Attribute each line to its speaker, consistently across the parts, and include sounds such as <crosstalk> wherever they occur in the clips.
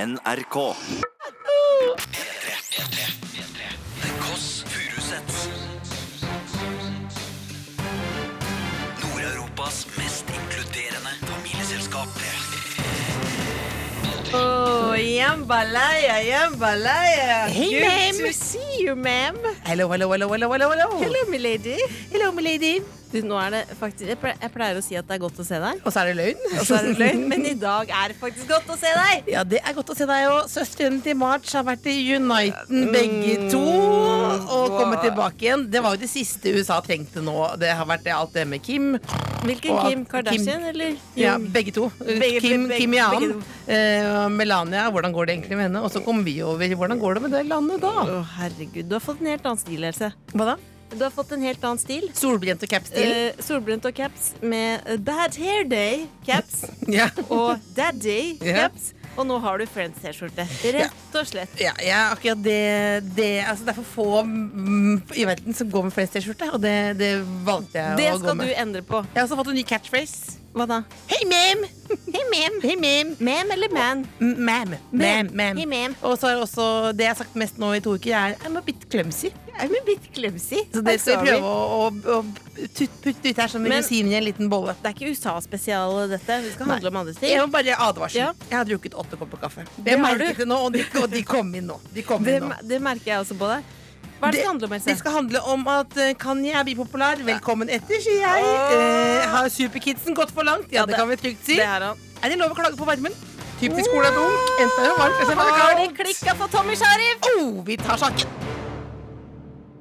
Speaker 1: NRK.
Speaker 2: The Koss Furusets Nord-Europas mest inkluderende familieselskap
Speaker 3: Oh, jambalaya, jambalaya.
Speaker 4: Hey,
Speaker 3: Good
Speaker 4: ma'am.
Speaker 3: to see you, ma'am.
Speaker 4: Hello, hello, hello, hello, hello, hello.
Speaker 3: Hello, milady.
Speaker 4: Hello, my lady.
Speaker 3: Du, nå er det faktisk, jeg ple- jeg pleier å si at det er godt å se deg,
Speaker 4: Og så er det løgn.
Speaker 3: og så er det løgn, men i dag er det faktisk godt å se deg.
Speaker 4: Ja, det er godt å se deg òg. Søstrene til March har vært i Uniten begge to. Og kommet tilbake igjen. Det var jo det siste USA trengte nå. Det har vært det, alt det med Kim.
Speaker 3: Hvilken
Speaker 4: Og-
Speaker 3: Kim Kardashian, eller?
Speaker 4: Ja,
Speaker 3: Jung?
Speaker 4: begge to.
Speaker 3: Begge-
Speaker 4: Kim,
Speaker 3: begge-
Speaker 4: Kim Jan.
Speaker 3: begge
Speaker 4: Eh, Melania, hvordan går det egentlig med henne? Og så kom vi over. Hvordan går det med det landet
Speaker 3: Å,
Speaker 4: da?
Speaker 3: herregud, du har fått en helt annen stil, Else.
Speaker 4: Hva da?
Speaker 3: Du har fått en helt annen stil.
Speaker 4: Solbrent og capstil.
Speaker 3: Eh, solbrent og caps med eh, Bad Hair Day caps
Speaker 4: Ja.
Speaker 3: og Daddy
Speaker 4: Ja.
Speaker 3: caps. Og nå har du Friends-T-skjorte. Rett og slett.
Speaker 4: Ja, ja akkurat det, det altså Det er for få mm, i verden som går med flest T-skjorte, og det, det valgte jeg
Speaker 3: Det
Speaker 4: å gå
Speaker 3: skal du
Speaker 4: med.
Speaker 3: endre på.
Speaker 4: Jeg har også fått en ny catchphrase.
Speaker 3: Hva da?
Speaker 4: Hei, ma'am!
Speaker 3: Hey, ma'am.
Speaker 4: Hei, ma'am!
Speaker 3: Ma'am eller man?
Speaker 4: M- Ma'am. Ma'am. ma'am.
Speaker 3: Hey, ma'am.
Speaker 4: Og så er også det jeg har sagt mest nå i to uker, er I'm a bit clumsy.
Speaker 3: I'm a bit clumsy.
Speaker 4: Så det
Speaker 3: I'm
Speaker 4: skal
Speaker 3: sorry.
Speaker 4: jeg prøve å, å, å tut- putte ut her som
Speaker 3: Men-
Speaker 4: rosinen i en liten bolle.
Speaker 3: Det er ikke USA-spesial, dette. Det skal
Speaker 4: Nei.
Speaker 3: handle om andre ting.
Speaker 4: Jeg må bare advarsel.
Speaker 3: Ja.
Speaker 4: Jeg har drukket åtte kopper kaffe.
Speaker 3: Det
Speaker 4: Jeg
Speaker 3: har
Speaker 4: merket
Speaker 3: du.
Speaker 4: det nå, og de, og de kom inn nå. De kom
Speaker 3: Det,
Speaker 4: inn nå.
Speaker 3: det merker jeg også på deg. Hva er det, det skal handle om, Else?
Speaker 4: Det skal handle om at eh, Kanye er bipopulær. Velkommen etter, sier jeg. Eh, har superkidsen gått for langt? Ja,
Speaker 3: Ja,
Speaker 4: det,
Speaker 3: det-
Speaker 4: kan vi trygt si.
Speaker 3: Det er han.
Speaker 4: Er det lov å klage på varmen? Typisk Ola Dunk. Enten er det varmt, eller så er det
Speaker 3: Har det
Speaker 4: kaldt.
Speaker 3: klikka for Tommy Sharif?
Speaker 4: Oh, vi tar saken.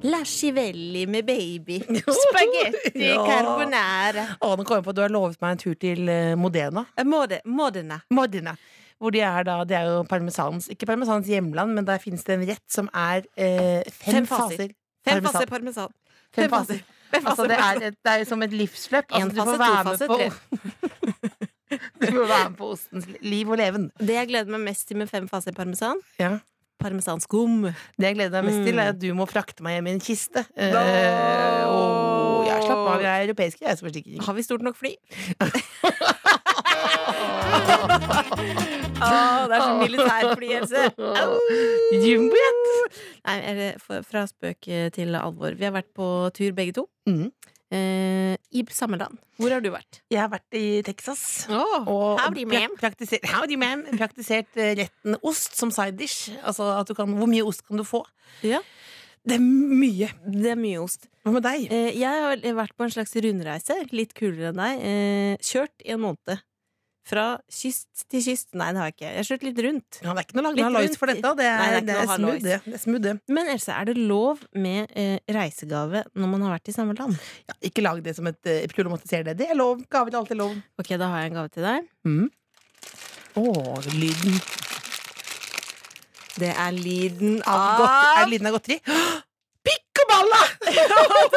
Speaker 3: La Chivelli med
Speaker 4: <laughs>
Speaker 3: baby. Spagetti
Speaker 4: Ja.
Speaker 3: carbonara.
Speaker 4: Å, nå kom jeg på at Du har lovet meg en tur til eh, Modena.
Speaker 3: Mode, modena.
Speaker 4: Modena. Hvor de er da, Det er jo parmesans Ikke parmesans hjemland, men der fins det en rett som er eh, fem,
Speaker 3: Fem faser.
Speaker 4: faser.
Speaker 3: Fem
Speaker 4: Parmesan.
Speaker 3: faser parmesan.
Speaker 4: Fem faser.
Speaker 3: Fem
Speaker 4: Altså,
Speaker 3: faser
Speaker 4: det, er, et- det er jo som et livsløp. Altså,
Speaker 3: En
Speaker 4: du får
Speaker 3: fase,
Speaker 4: være
Speaker 3: to
Speaker 4: med
Speaker 3: fase,
Speaker 4: på
Speaker 3: tre.
Speaker 4: <laughs> Du får være med på ostens liv og leven.
Speaker 3: Det jeg gleder meg mest til med fem faser parmesan, parmesanskum.
Speaker 4: Det jeg gleder meg mest til, er at du må frakte meg hjem i en kiste. Eh, og jeg slapp av, jeg er europeisk, jeg er så forsiktig.
Speaker 3: Har vi stort nok fly? Å, det er så militærfly, Else. Au.
Speaker 4: Jumbojet!
Speaker 3: Nei, eller for- fra spøk eh, til alvor. Vi har vært på tur begge to.
Speaker 4: Mhm.
Speaker 3: Eh, I samme land. Hvor har du vært?
Speaker 4: Jeg har vært i Texas.
Speaker 3: og
Speaker 4: Og
Speaker 3: Howdy,
Speaker 4: prak-
Speaker 3: ma'am.
Speaker 4: praktisert, howdy, ma'am. praktisert eh, retten ost som side dish. Altså at du kan, hvor mye ost kan du få?
Speaker 3: Ja.
Speaker 4: Det er mye.
Speaker 3: Det er mye ost.
Speaker 4: Hva med deg?
Speaker 3: Eh, jeg har vært på en slags rundreise, litt kulere enn deg. Eh, kjørt i en måned. Fra kyst til kyst. Nei, det har jeg ikke. Jeg har kjørt litt rundt.
Speaker 4: Ja, det er ikke noe
Speaker 3: litt
Speaker 4: lagna lois
Speaker 3: rundt
Speaker 4: for
Speaker 3: i-
Speaker 4: dette. Det er,
Speaker 3: Nei, det er ikke
Speaker 4: det
Speaker 3: noe
Speaker 4: er, smooth,
Speaker 3: hallois.
Speaker 4: det. det er smooth, det.
Speaker 3: Men Else, er det lov med eh, reisegave når man har vært i samme land?
Speaker 4: Ja, ikke lag det som et uh, problematisert det. Det er lov. Gaver er alltid lov.
Speaker 3: Ok, da har jeg en gave til deg.
Speaker 4: Mm. Å, lyden
Speaker 3: Det er lyden
Speaker 4: av godt, Er det lyden av godteri? <gasps> Piccoballa!
Speaker 3: Det <laughs>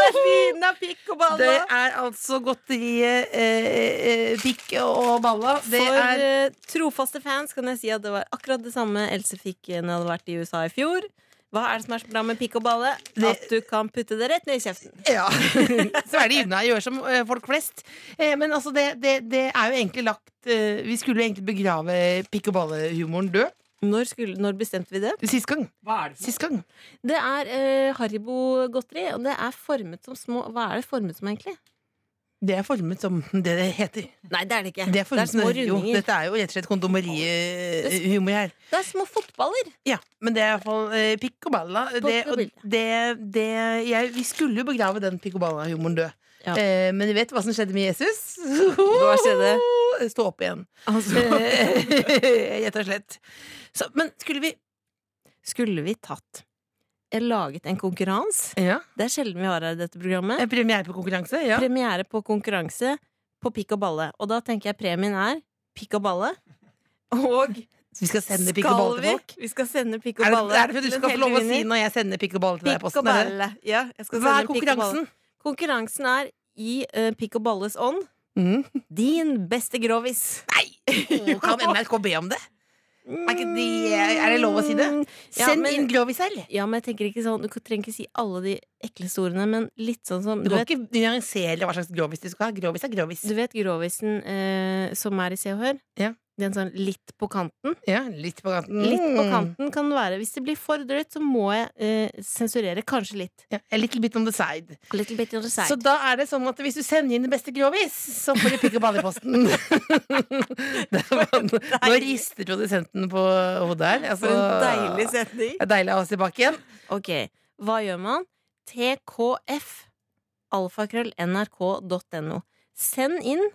Speaker 3: er lyden av pikk og
Speaker 4: Det
Speaker 3: baller!
Speaker 4: er altså godteriet eh, eh, pikk og balla. Det
Speaker 3: For
Speaker 4: er
Speaker 3: eh, trofaste fans kan jeg si at det var akkurat det samme Else fikk eh, når jeg hadde vært i USA i fjor. Hva er det som er så bra med pikk og balle? At
Speaker 4: Det-
Speaker 3: du kan putte det rett ned i kjeften.
Speaker 4: ja. <laughs> Så er det unna. Gjør som eh, folk flest. Eh, men altså, det, det, det er jo egentlig lagt eh, Vi skulle jo egentlig begrave pikk og balle-humoren død.
Speaker 3: Når, skulle, når bestemte vi det?
Speaker 4: Sist gang. Sist gang.
Speaker 3: Det er eh, Haribo-godteri, og det er formet som små Hva er det formet som, egentlig?
Speaker 4: Det er formet som det det heter.
Speaker 3: Nei, det er det ikke.
Speaker 4: Det er formet som
Speaker 3: små
Speaker 4: jo,
Speaker 3: rundinger.
Speaker 4: dette er jo rett og slett kondomerihumor her.
Speaker 3: Det er små fotballer.
Speaker 4: Ja, men det er iallfall eh, pikk og balla. Det,
Speaker 3: og
Speaker 4: og det, det, jeg, vi skulle jo begrave den pikk og balla-humoren død.
Speaker 3: Ja.
Speaker 4: Eh, men vi vet hva som skjedde med Jesus.
Speaker 3: Hva skjedde?
Speaker 4: <laughs> Stå opp igjen.
Speaker 3: Altså,
Speaker 4: Eh, <laughs> Rett og slett. Så, men skulle vi
Speaker 3: skulle vi tatt laget en konkurranse?
Speaker 4: ja.
Speaker 3: Det er sjelden vi har her i dette programmet.
Speaker 4: En Eh, premiere på konkurranse? Ja.
Speaker 3: Premiere på konkurranse på pikk og balle. Og da tenker jeg premien er pikk og balle. Og
Speaker 4: Så vi skal sende pikk og
Speaker 3: skal
Speaker 4: balla til
Speaker 3: vi?
Speaker 4: folk?
Speaker 3: Vi skal sende pikk og
Speaker 4: Er det,
Speaker 3: balle.
Speaker 4: er det for at du
Speaker 3: til en
Speaker 4: skal få
Speaker 3: heldig
Speaker 4: lov å si
Speaker 3: vinner.
Speaker 4: når jeg sender pikk og balle til deg i
Speaker 3: Pikk og
Speaker 4: posten? eller?
Speaker 3: balle. Ja, jeg skal
Speaker 4: Hva
Speaker 3: sende
Speaker 4: er
Speaker 3: pikk og balle.
Speaker 4: konkurransen?
Speaker 3: Konkurransen er i eh, pikk og balles ånd.
Speaker 4: Mm.
Speaker 3: Din beste grovis.
Speaker 4: Nei! Oh, <laughs> kan NRK be om det? Er, ikke de, er det lov å si det?
Speaker 3: Mm, Ja,
Speaker 4: Send
Speaker 3: men-
Speaker 4: inn grovisell!
Speaker 3: Ja, men jeg tenker ikke sånn Du trenger ikke si alle de ekleste ordene, men litt sånn som
Speaker 4: Du
Speaker 3: Du
Speaker 4: kan
Speaker 3: vet,
Speaker 4: ikke nyansere hva slags grovis du skal ha. Grovis er grovis.
Speaker 3: du vet grovisen eh, som er i Se og Hør?
Speaker 4: Ja.
Speaker 3: Den sånn litt på kanten.
Speaker 4: Ja, litt på kanten.
Speaker 3: Litt på
Speaker 4: Mm.
Speaker 3: kanten kan det være. Hvis det blir for drøyt, så må jeg eh, sensurere kanskje litt.
Speaker 4: Ja, a little bit on the side.
Speaker 3: Little bit on the
Speaker 4: Så da er det sånn at hvis du sender inn det beste grovis, så får de pikk og balle i
Speaker 3: <laughs>
Speaker 4: posten. Det var- Nå rister produsenten på hodet her. Altså,
Speaker 3: For en deilig setning.
Speaker 4: Det er deilig å ha oss tilbake igjen.
Speaker 3: Ok, hva gjør man? TKF alfakrøll nrk.no Send inn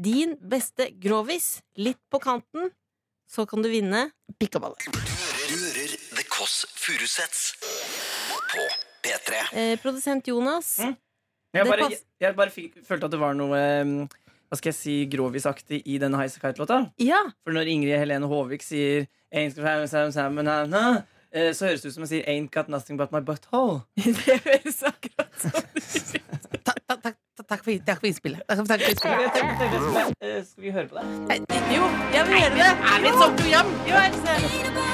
Speaker 3: din beste grovis litt på kanten, så kan du vinne.
Speaker 4: Pikk og balle.
Speaker 2: Du hører, du hører The Kåss Furuseths på P3.
Speaker 3: Eh, produsent Jonas.
Speaker 1: Mm. Jeg
Speaker 3: Det
Speaker 1: bare,
Speaker 3: pass-
Speaker 1: jeg, jeg bare fikk, følte at det var noe eh, Hva skal jeg si, grovisaktig i denne Highasakite-låta.
Speaker 3: Ja,
Speaker 1: For når Ingrid Helene Håvik sier «Ain't got nothing but my salmon, nah, nah», eh, så høres det ut som hun sier Ain't got nothing but my butthole.
Speaker 3: <laughs> det høres akkurat sånn ut.
Speaker 4: Takk, takk, takk, takk, for, takk for innspillet. Takk, takk for
Speaker 1: Skal vi,
Speaker 4: innspillet.
Speaker 1: tenk- tenk- tenk- eh, skal vi høre på det?
Speaker 4: Nei, Jo,
Speaker 3: Jeg vil gjøre det.
Speaker 4: er det et sånt program?
Speaker 3: Jo, Else.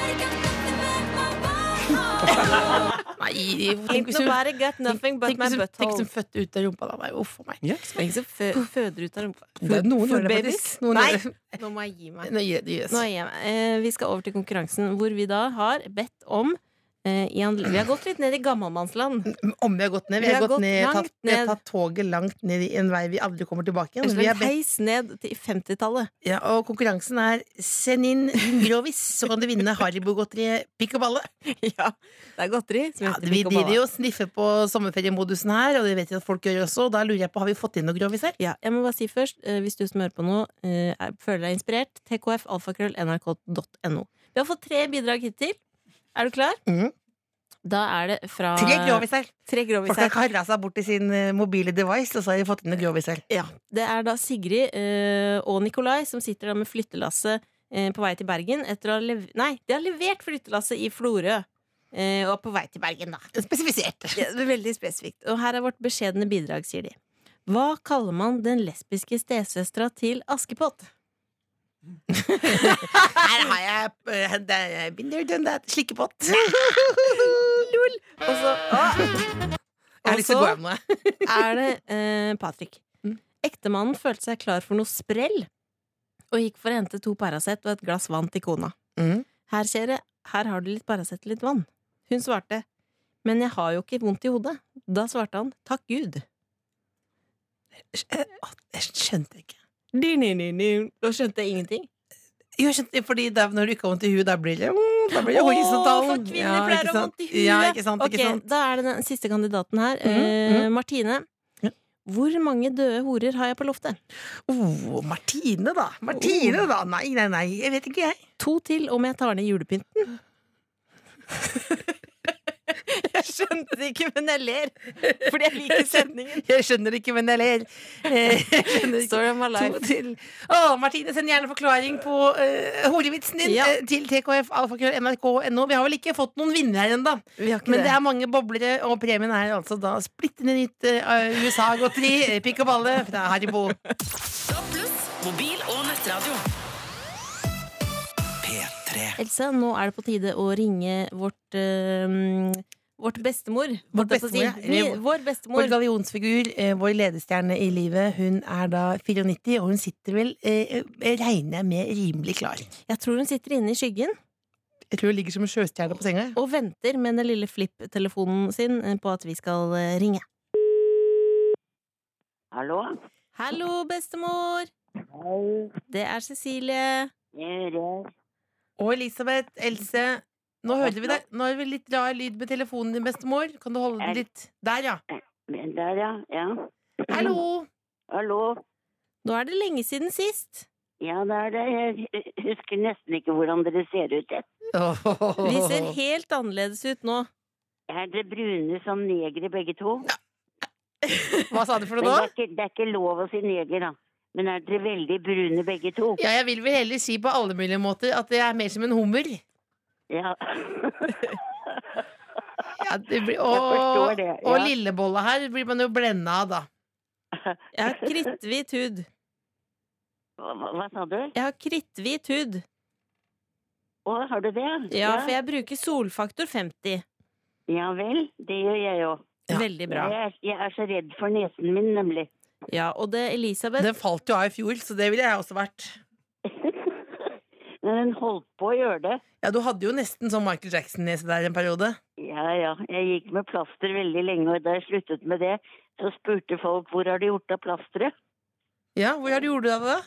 Speaker 4: <laughs> Nei, tenk
Speaker 3: Ain't
Speaker 4: hvis du
Speaker 3: nobody got nothing but
Speaker 4: Tenk
Speaker 3: my
Speaker 4: hvis du- tenk
Speaker 3: butthole.
Speaker 4: hvis du fødte ut av rumpa da. Nei, uff a meg.
Speaker 1: Ja.
Speaker 3: Det er Ingen som fø- føder ut av rumpa.
Speaker 4: Det er noen
Speaker 3: For
Speaker 4: gjør det
Speaker 3: babies?
Speaker 4: faktisk. Noen
Speaker 3: Nei,
Speaker 4: gjør det.
Speaker 3: nå må jeg gi meg.
Speaker 4: Nå gjør det, yes.
Speaker 3: Nå er jeg hjemme. Eh, vi skal over til konkurransen, hvor vi da har bedt om eh, i anle- Vi har gått litt ned i gammelmannsland.
Speaker 4: Om vi har gått ned. Vi har, gått, ned,
Speaker 3: langt
Speaker 4: tatt, vi har
Speaker 3: ned.
Speaker 4: tatt toget langt ned i en vei vi aldri kommer tilbake
Speaker 3: En
Speaker 4: igjen. Vi har
Speaker 3: slags
Speaker 4: bedt,
Speaker 3: heis ned til
Speaker 4: <laughs>
Speaker 3: 50-tallet.
Speaker 4: ja, og konkurransen er send inn din grovis, så kan du vinne Haribo-godteriet Pikk og balle.
Speaker 3: ja, det er godteri som
Speaker 4: Ja,
Speaker 3: heter
Speaker 4: vi
Speaker 3: Mikk og
Speaker 4: driver
Speaker 3: Balla.
Speaker 4: jo og sniffer på sommerferiemodusen her, og det vet jeg at folk gjør også. Og da lurer jeg på, har vi fått inn noe grovis her?
Speaker 3: Ja, jeg må bare si først, eh, hvis du som hører på nå, eh, er- føler deg inspirert, tkfalfakrøll.nrk.no. Vi har fått tre bidrag hittil. Er du klar?
Speaker 4: Mhm.
Speaker 3: Da er det fra
Speaker 4: Mm. Tre grovis her.
Speaker 3: Tre
Speaker 4: Folk
Speaker 3: groviser.
Speaker 4: har kara seg bort til sin eh, mobile device, og så har de fått inn noe grovis her.
Speaker 3: Ja, det er da Sigrid eh, og Nikolai som sitter da med flyttelasset eh, på vei til Bergen etter å ha lev Nei, de har levert flyttelasset i Florø. eh, og er på vei til Bergen, da.
Speaker 4: Spesifisert.
Speaker 3: <laughs> Ja, det er veldig spesifikt. Og her er vårt beskjedne bidrag, sier de. Hva kaller man den lesbiske stesøstera til Askepott?
Speaker 4: Her har jeg eh, det er- Been there, done that. Slikkepott.
Speaker 3: <laughs> Og så,
Speaker 4: Jeg har lyst til å gå hjem nå. jeg.
Speaker 3: <laughs> er det eh, Patrick. Ektemannen følte seg klar for noe sprell og gikk for å hente to Paracet og et glass vann til kona.
Speaker 4: Mm.
Speaker 3: Her ser jeg, her har du litt Paracet og litt vann. Hun svarte, men jeg har jo ikke vondt i hodet. Da svarte han, takk Gud.
Speaker 4: Eh, å, Jeg skjønte ikke.
Speaker 3: Da skjønte jeg ingenting.
Speaker 4: Jo, jeg skjønte, fordi det er når du ikke har vondt i huet, da blir det, mm, da blir det
Speaker 3: Åh,
Speaker 4: horisontal.
Speaker 3: for kvinner
Speaker 4: Ja,
Speaker 3: pleier å
Speaker 4: ikke
Speaker 3: ha
Speaker 4: sant?
Speaker 3: vondt i huet.
Speaker 4: Ja, ikke sant,
Speaker 3: Ok,
Speaker 4: ikke sant.
Speaker 3: Da er det den siste kandidaten her.
Speaker 4: Mhm,
Speaker 3: eh,
Speaker 4: mhm.
Speaker 3: Martine.
Speaker 4: Ja.
Speaker 3: Hvor mange døde horer har jeg på loftet?
Speaker 4: Oh, Martine, da.
Speaker 3: Oh.
Speaker 4: Martine, da. Nei, nei, nei. Jeg vet ikke, jeg.
Speaker 3: To til om jeg tar ned julepynten. <laughs> jeg skjønte det ikke, men jeg ler. Fordi jeg liker <laughs> setningen.
Speaker 4: Jeg skjønner ikke, men jeg ler. Eh, Jeg skjønner ikke.
Speaker 3: Story of my
Speaker 4: To
Speaker 3: life.
Speaker 4: til. Å, Martine, send gjerne forklaring på eh, horevitsen din
Speaker 3: Ja.
Speaker 4: eh, til tkfalfakrøll.nrk.no. Vi har vel ikke fått noen vinner her ennå,
Speaker 3: Vi har ikke
Speaker 4: men det er mange boblere, og premien er altså da splittende nytt eh, USA-godteri, eh, pikk og balle fra Haribo.
Speaker 5: Mobil og nettradio.
Speaker 2: P3.
Speaker 3: Else, nå er det på tide å ringe vårt eh, Vårt bestemor.
Speaker 4: Vårt
Speaker 3: holdt jeg på å si.
Speaker 4: bestemor, ja.
Speaker 3: Min-
Speaker 4: Eller-
Speaker 3: Vår
Speaker 4: Vår
Speaker 3: bestemor.
Speaker 4: gallionsfigur, eh, vår ledestjerne i livet, hun er da 94, og hun sitter vel, eh, eh, regner jeg med, rimelig klar.
Speaker 3: Jeg tror hun sitter inne i skyggen.
Speaker 4: Jeg tror hun ligger som en sjøstjerne på senga.
Speaker 3: og venter med den lille flipp-telefonen sin eh, på at vi skal eh, ringe.
Speaker 6: Hallo?
Speaker 3: Hallo, bestemor!
Speaker 6: Hei,
Speaker 3: Det er Cecilie.
Speaker 6: jeg hører.
Speaker 4: Og Elisabeth, Else, nå hører vi deg. Nå er det litt rar lyd med telefonen din, bestemor. Kan du holde den litt Der, ja.
Speaker 6: Der, ja. ja.
Speaker 4: <laughs> Hallo!
Speaker 6: Hallo?
Speaker 3: Nå er det lenge siden sist.
Speaker 6: Ja, det er det. Jeg husker nesten ikke hvordan dere ser ut.
Speaker 3: Vi
Speaker 4: Vi
Speaker 3: ser helt annerledes ut nå.
Speaker 6: Er dere brune som negere, begge to?
Speaker 4: Hva sa du for
Speaker 6: Men
Speaker 4: noe nå?
Speaker 6: det er, ikke, det er ikke lov å si neger, da. Men er dere veldig brune, begge to?
Speaker 4: Ja, jeg vil vel heller si på alle mulige måter at det er mer som en hummer.
Speaker 6: Ja. <laughs>
Speaker 4: Ja, det blir,
Speaker 6: forstår
Speaker 4: og,
Speaker 6: det, ja.
Speaker 4: og lillebolla her blir man jo blenda av, da.
Speaker 3: Jeg har kritthvit hud.
Speaker 6: Hva, hva- hva sa du?
Speaker 3: Jeg har kritthvit hud.
Speaker 6: Å, har du det?
Speaker 3: Ja, for jeg bruker solfaktor 50.
Speaker 6: ja vel. Det gjør jeg jo.
Speaker 4: Ja.
Speaker 3: Veldig bra.
Speaker 6: Jeg, er- jeg er så redd for nesen min, nemlig. <laughs>
Speaker 3: Ja, og det Elisabeth
Speaker 4: Den falt jo av i fjor, så det ville jeg også vært.
Speaker 6: Men den holdt på å gjøre det.
Speaker 4: Ja, Du hadde jo nesten sånn Michael Jackson-nese der en periode.
Speaker 6: Ja, ja. Jeg gikk med plaster veldig lenge, og da jeg sluttet med det, så spurte folk hvor har de gjort av plasteret.
Speaker 4: Ja, Hvor har du gjort av det?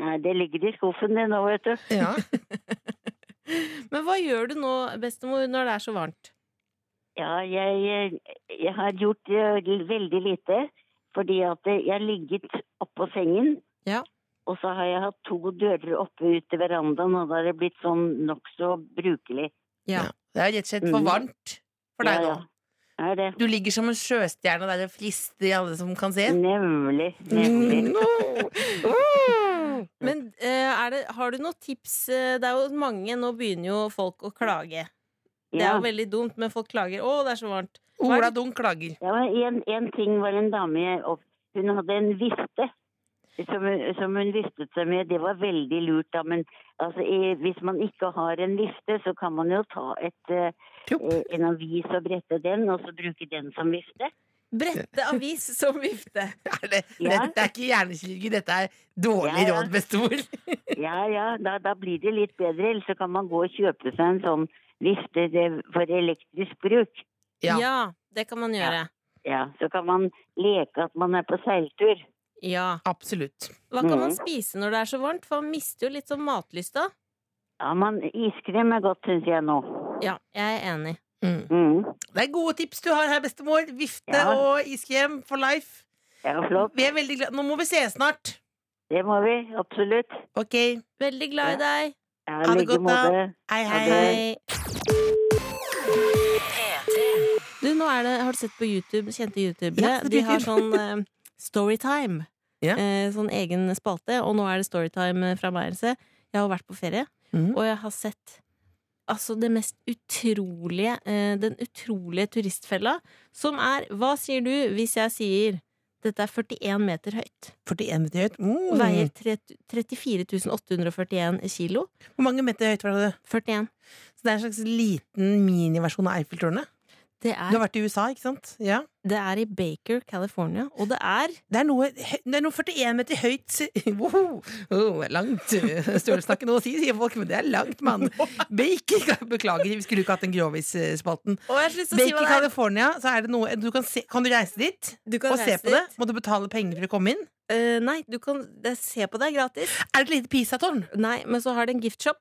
Speaker 6: Nei, det ligger i skuffen din nå, vet du.
Speaker 4: Ja.
Speaker 3: <laughs> Men hva gjør du nå, bestemor, når det er så varmt?
Speaker 6: Ja, jeg, eh, jeg har gjort eh, veldig lite, fordi at eh, jeg har ligget oppå sengen.
Speaker 3: Ja.
Speaker 6: Og så har jeg hatt to dører oppe ut til verandaen, og da har det blitt sånn nokså brukelig.
Speaker 3: Ja.
Speaker 4: Det er rett og slett for
Speaker 6: Mm.
Speaker 4: varmt for deg
Speaker 6: Ja,
Speaker 4: nå.
Speaker 6: ja. Er det?
Speaker 4: Du ligger som en sjøstjerne der og frister alle som kan se.
Speaker 6: Mm. Nemlig. Nemlig.
Speaker 4: Mm,
Speaker 3: Men eh, er det, har du noen tips? Eh, Det er jo mange, nå begynner jo folk å klage. Det er
Speaker 6: Ja.
Speaker 3: jo veldig dumt, men folk klager. Å, det er så varmt.
Speaker 4: Ola Dung klager. <laughs>
Speaker 6: Det var en, en ting var en dame jeg opp... Hun hadde en vifte som, hun- som hun vistet seg med. Det var veldig lurt, da. Men altså, i, hvis man ikke har en vifte, så kan man jo ta et, eh,
Speaker 4: Pjopp.
Speaker 6: eh, en avis og brette den, og så bruke den som vifte.
Speaker 3: Brette avis <laughs> som vifte.
Speaker 4: Er det,
Speaker 6: Ja.
Speaker 4: Dette er ikke hjernekirurgi, dette er dårlig
Speaker 6: Ja, ja.
Speaker 4: råd, bestemor.
Speaker 3: <laughs>
Speaker 6: Ja, ja, da, da blir det litt bedre. Ellers så kan man gå og kjøpe seg en sånn vifte det- for elektrisk bruk.
Speaker 4: Ja.
Speaker 3: Ja. det kan man gjøre.
Speaker 6: Ja, så kan man leke at man er på seiltur.
Speaker 3: Ja.
Speaker 4: Absolutt.
Speaker 3: Hva kan man
Speaker 6: Mhm.
Speaker 3: spise når det er så varmt? For man mister jo litt sånn matlysta.
Speaker 6: Ja, man, iskrem er godt, syns jeg nå.
Speaker 3: Ja, jeg er enig.
Speaker 4: Mm.
Speaker 6: Mm.
Speaker 4: Det er gode tips du har her, bestemor. Vifte
Speaker 6: Ja.
Speaker 4: og iskrem for life.
Speaker 6: Det er jo flott.
Speaker 4: Vi er veldig glad. Nå må vi se snart.
Speaker 6: Det må vi, absolutt.
Speaker 4: Ok,
Speaker 3: Veldig glad i deg.
Speaker 6: Ja,
Speaker 4: det
Speaker 6: like
Speaker 4: godt, da.
Speaker 6: måte.
Speaker 4: hei, hei.
Speaker 3: Hei. Du, nå er det, har du sett på YouTube, kjente youtubere?
Speaker 4: Ja, på
Speaker 3: De har
Speaker 4: YouTube. <laughs>
Speaker 3: sånn eh, Storytime.
Speaker 4: Ja.
Speaker 3: Eh, sånn egen spalte. Og nå er det Storytime fra meg, Else. Jeg har vært på ferie,
Speaker 4: Mhm.
Speaker 3: og jeg har sett altså det mest utrolige eh, Den utrolige turistfella, som er Hva sier du hvis jeg sier dette er 41 meter høyt?
Speaker 4: 41 meter høyt. Mm.
Speaker 3: Veier tre- 34 841 kilo.
Speaker 4: Hvor mange meter høyt var det?
Speaker 3: 41.
Speaker 4: Så det er en slags liten miniversjon av Eiffeltårnet.
Speaker 3: Det
Speaker 4: Du har
Speaker 3: er,
Speaker 4: vært i USA, ikke sant? Ja.
Speaker 3: det er i Baker, California. Og det er
Speaker 4: Det er noe, det er noe 41 meter høyt <laughs> wow. oh, Langt. Størrelsen har ikke noe å si, sier folk, men det er langt,
Speaker 3: <laughs>
Speaker 4: mann. Baker Beklager, vi skulle ikke hatt den grovis-spalten. Baker California, så er det noe du kan, se, kan du reise dit
Speaker 3: Du kan
Speaker 4: og se
Speaker 3: reise
Speaker 4: på det?
Speaker 3: dit.
Speaker 4: Må du betale penger for å komme inn?
Speaker 3: Eh, nei, du kan det, se på det er gratis.
Speaker 4: Er det et lite Pisatårn?
Speaker 3: Nei, men så har det en giftshop.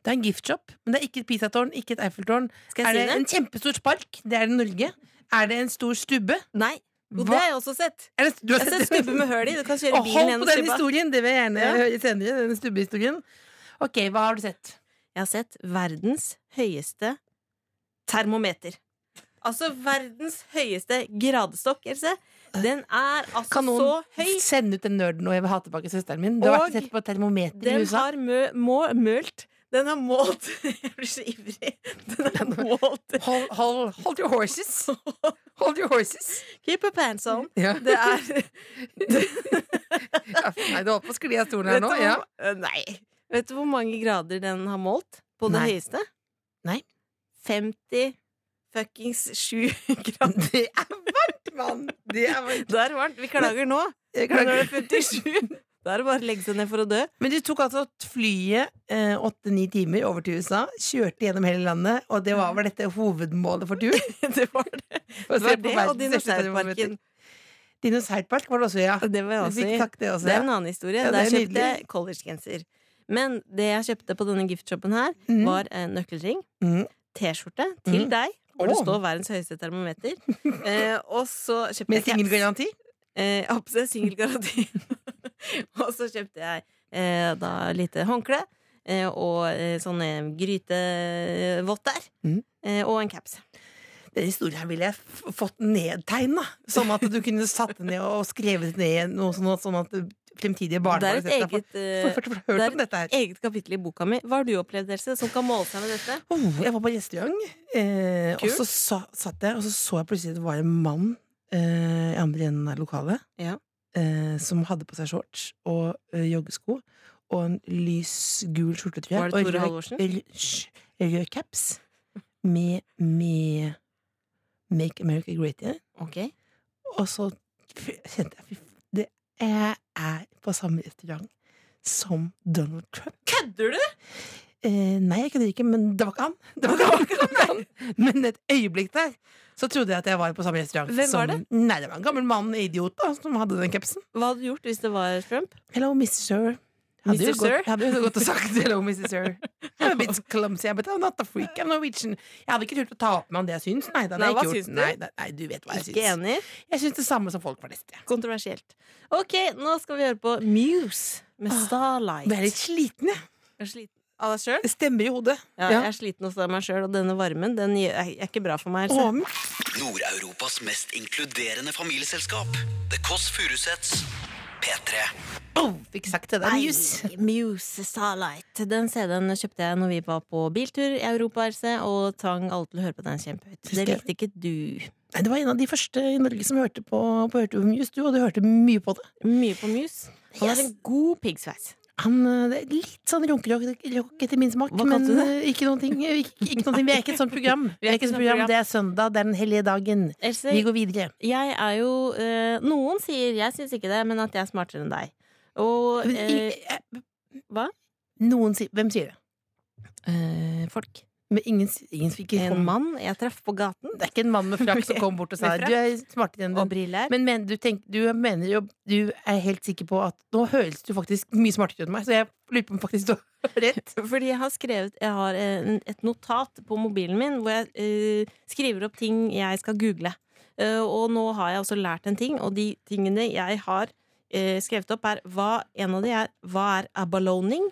Speaker 4: Det er en giftshop, men det er ikke et Pisatårn, ikke et Eiffeltårn.
Speaker 3: Skal
Speaker 4: Er
Speaker 3: jeg
Speaker 4: det
Speaker 3: si det?
Speaker 4: en kjempestor spark? Det er det i Norge. Er det en stor stubbe?
Speaker 3: Nei. Jo, det
Speaker 4: Hva?
Speaker 3: har jeg også sett.
Speaker 4: Er det, du
Speaker 3: Jeg
Speaker 4: <laughs>
Speaker 3: har sett stubbe med høl i. Du kan kjøre
Speaker 4: Å,
Speaker 3: bilen
Speaker 4: Hold
Speaker 3: gjennom
Speaker 4: på den
Speaker 3: stubba.
Speaker 4: historien! Det vil jeg gjerne
Speaker 3: Ja.
Speaker 4: høre senere. Den stubbehistorien. Ok, hva har du sett?
Speaker 3: Jeg har sett verdens høyeste termometer. Altså verdens høyeste gradestokk, Else. Den er altså
Speaker 4: Kan noen
Speaker 3: så høy.
Speaker 4: sende ut den nerden og jeg vil ha tilbake søsteren min? Du har
Speaker 3: Og
Speaker 4: vært og sett på et termometer i
Speaker 3: Den
Speaker 4: USA.
Speaker 3: har mø, må, mølt. Den har målt <laughs> Jeg blir så ivrig. Den
Speaker 4: <laughs>
Speaker 3: har målt
Speaker 4: Hold, hold, hold your horses! Hold your horses!
Speaker 3: Keep your pants on.
Speaker 4: Ja.
Speaker 3: Det er
Speaker 4: Ja, Nei, du holdt på å skli av stolen her
Speaker 3: vet,
Speaker 4: nå.
Speaker 3: du,
Speaker 4: Ja.
Speaker 3: hvor- eh, Nei. vet du hvor mange grader den har målt på det
Speaker 4: Nei.
Speaker 3: høyeste?
Speaker 4: Nei.
Speaker 3: 50 fuckings 7 <laughs> grader.
Speaker 4: <laughs> Det er varmt, mann! Det er varmt.
Speaker 3: Det er varmt. Vi klager nå.
Speaker 4: Jeg
Speaker 3: Men når
Speaker 4: <laughs> klager.
Speaker 3: det er 57, da er det bare å legge seg ned for å dø. <laughs>
Speaker 4: Men du tok altså flyet eh, åtte-ni timer over til USA, kjørte gjennom hele landet, og det var vel dette hovedmålet for tur?
Speaker 3: Det var <laughs> det.
Speaker 4: Å
Speaker 3: Det
Speaker 4: se
Speaker 3: var
Speaker 4: på
Speaker 3: det og
Speaker 4: verdens største
Speaker 3: dinosaurparken.
Speaker 4: termometer. Dinosaurpark var det også, ja.
Speaker 3: Det var jeg
Speaker 4: Vi
Speaker 3: også
Speaker 4: fikk
Speaker 3: i.
Speaker 4: takk, det også.
Speaker 3: Det er
Speaker 4: ja.
Speaker 3: en annen historie.
Speaker 4: Ja, det
Speaker 3: Der
Speaker 4: er
Speaker 3: kjøpte
Speaker 4: nydelig.
Speaker 3: jeg collegegenser. Men det jeg kjøpte på denne giftshoppen her,
Speaker 4: Mhm.
Speaker 3: var en nøkkelring,
Speaker 4: Mhm.
Speaker 3: T-skjorte til
Speaker 4: Mhm.
Speaker 3: deg, hvor det
Speaker 4: Åh.
Speaker 3: står 'verdens høyeste
Speaker 4: <laughs>
Speaker 3: termometer'. eh, og så kjøpte
Speaker 4: Med
Speaker 3: jeg caps.
Speaker 4: singelgaranti?
Speaker 3: Eh, Absolutt singelgaranti. <laughs> og så kjøpte jeg eh, da lite håndkle eh, og eh, sånne grytevotter.
Speaker 4: Mhm.
Speaker 3: Eh, og en caps.
Speaker 4: Den historien her ville jeg f- fått nedtegna, sånn at du kunne satt det ned og skrevet ned noe sånn, sånn at fremtidige barn
Speaker 3: Det er
Speaker 4: hadde
Speaker 3: et
Speaker 4: sett det.
Speaker 3: eget,
Speaker 4: For,
Speaker 3: eh,
Speaker 4: for, for, for, hørt
Speaker 3: det er-
Speaker 4: om dette her.
Speaker 3: eget kapittel i boka mi. Hva har du opplevd, Else, som kan måle seg med dette?
Speaker 4: Oh, jeg var på restaurant, eh, og
Speaker 3: Kult.
Speaker 4: så sa, satt jeg, og så så jeg plutselig at det var en mann eh, i andre enden av lokalet
Speaker 3: Ja.
Speaker 4: eh, som hadde på seg shorts og eh, joggesko og en lys gul skjorte, tror jeg.
Speaker 3: Var det
Speaker 4: og
Speaker 3: Tore
Speaker 4: rød-
Speaker 3: Halvorsen?
Speaker 4: rød- hysj, Rød caps med, med Make America Great Again.
Speaker 3: Ok
Speaker 4: Og så f- kjente jeg fy f- det, Jeg er på samme restaurant som Donald Trump.
Speaker 3: Kødder du?!
Speaker 4: Eh, nei, jeg kødder ikke, men det var ikke han. <laughs> Det var ikke han.
Speaker 3: <laughs>
Speaker 4: Men et øyeblikk der så trodde jeg at jeg var på samme restaurant
Speaker 3: Hvem
Speaker 4: som
Speaker 3: var det?
Speaker 4: Nei, det var en gammel mann, idiot, da, som hadde den capsen.
Speaker 3: Hva hadde du gjort hvis det var Trump?
Speaker 4: Hello, Mr. Sir. Hadde
Speaker 3: Mr.
Speaker 4: jo
Speaker 3: Sir?
Speaker 4: gått- Hadde jo gått og sagt hello, Mr. <laughs> Sir. I'm a bit clumsy, but I'm not a freak. I'm Norwegian. Jeg hadde ikke turt å ta opp med han det jeg syns. Nei, det hadde
Speaker 3: Nei,
Speaker 4: jeg
Speaker 3: hva
Speaker 4: ikke
Speaker 3: syns du?
Speaker 4: gjort. Nei, nei, nei, du vet hva jeg
Speaker 3: Ikke
Speaker 4: syns.
Speaker 3: enig?
Speaker 4: Jeg syns det samme som folk flest. jeg.
Speaker 3: Kontroversielt. Ok, nå skal vi høre på Muse med Starlight.
Speaker 4: Jeg er litt sliten, jeg.
Speaker 3: Jeg er sliten av deg sjøl?
Speaker 4: Det stemmer i hodet.
Speaker 3: Ja,
Speaker 4: Ja.
Speaker 3: jeg er sliten også av meg sjøl, og denne varmen den gjør- er er ikke bra for meg.
Speaker 4: Å,
Speaker 3: Else.
Speaker 4: men
Speaker 2: Nord-Europas mest inkluderende familieselskap. The Kåss Furuseths. P3.
Speaker 4: oh, fikk sagt det der. Muse.
Speaker 3: Nei, Muse Starlight. Den CD-en kjøpte jeg når vi var på biltur i Europa, Else, og tvang alle til å høre på den kjempehøyt. Det
Speaker 4: Husker jeg.
Speaker 3: likte ikke du.
Speaker 4: Nei, det var en av de første i Norge som hørte på, på hørte på Muse, du, og du hørte mye på det.
Speaker 3: Mye på Muse. Han
Speaker 4: Yes.
Speaker 3: har en god piggsveis.
Speaker 4: Han, eh, det er litt sånn runkerock rock etter min smak,
Speaker 3: Hva
Speaker 4: men
Speaker 3: kalte du
Speaker 4: eh, ikke noen ting. eh, Ikke, ikke noen ting. Vi er ikke et sånt program.
Speaker 3: <laughs>
Speaker 4: Vi er ikke et sånt program. Det er søndag, det er den hellige dagen.
Speaker 3: Else,
Speaker 4: Vi går videre.
Speaker 3: jeg er jo eh, Noen sier, jeg syns ikke det, men at jeg er smartere enn deg. Og
Speaker 4: Men,
Speaker 3: eh,
Speaker 4: i- eh,
Speaker 3: hva?
Speaker 4: Noen sier Hvem sier det?
Speaker 3: eh, folk.
Speaker 4: Men ingen, s- ingen fikk ikke
Speaker 3: En
Speaker 4: komme.
Speaker 3: mann jeg traff på gaten,
Speaker 4: Det er ikke en mann med
Speaker 3: <laughs>
Speaker 4: frakk som kom bort og sa
Speaker 3: Med frakk.
Speaker 4: du er smartere enn
Speaker 3: og
Speaker 4: den.
Speaker 3: briller.
Speaker 4: Men, men du, tenk, du mener jo Du er helt sikker på at nå høres du faktisk mye smartere ut enn meg, så jeg lurer på om faktisk du har rett.
Speaker 3: Fordi jeg har skrevet Jeg har eh, et notat på mobilen min hvor jeg eh, skriver opp ting jeg skal google. Eh, og nå har jeg også lært en ting, og de tingene jeg har eh, skrevet opp, er hva, En av de er hva er abaloning?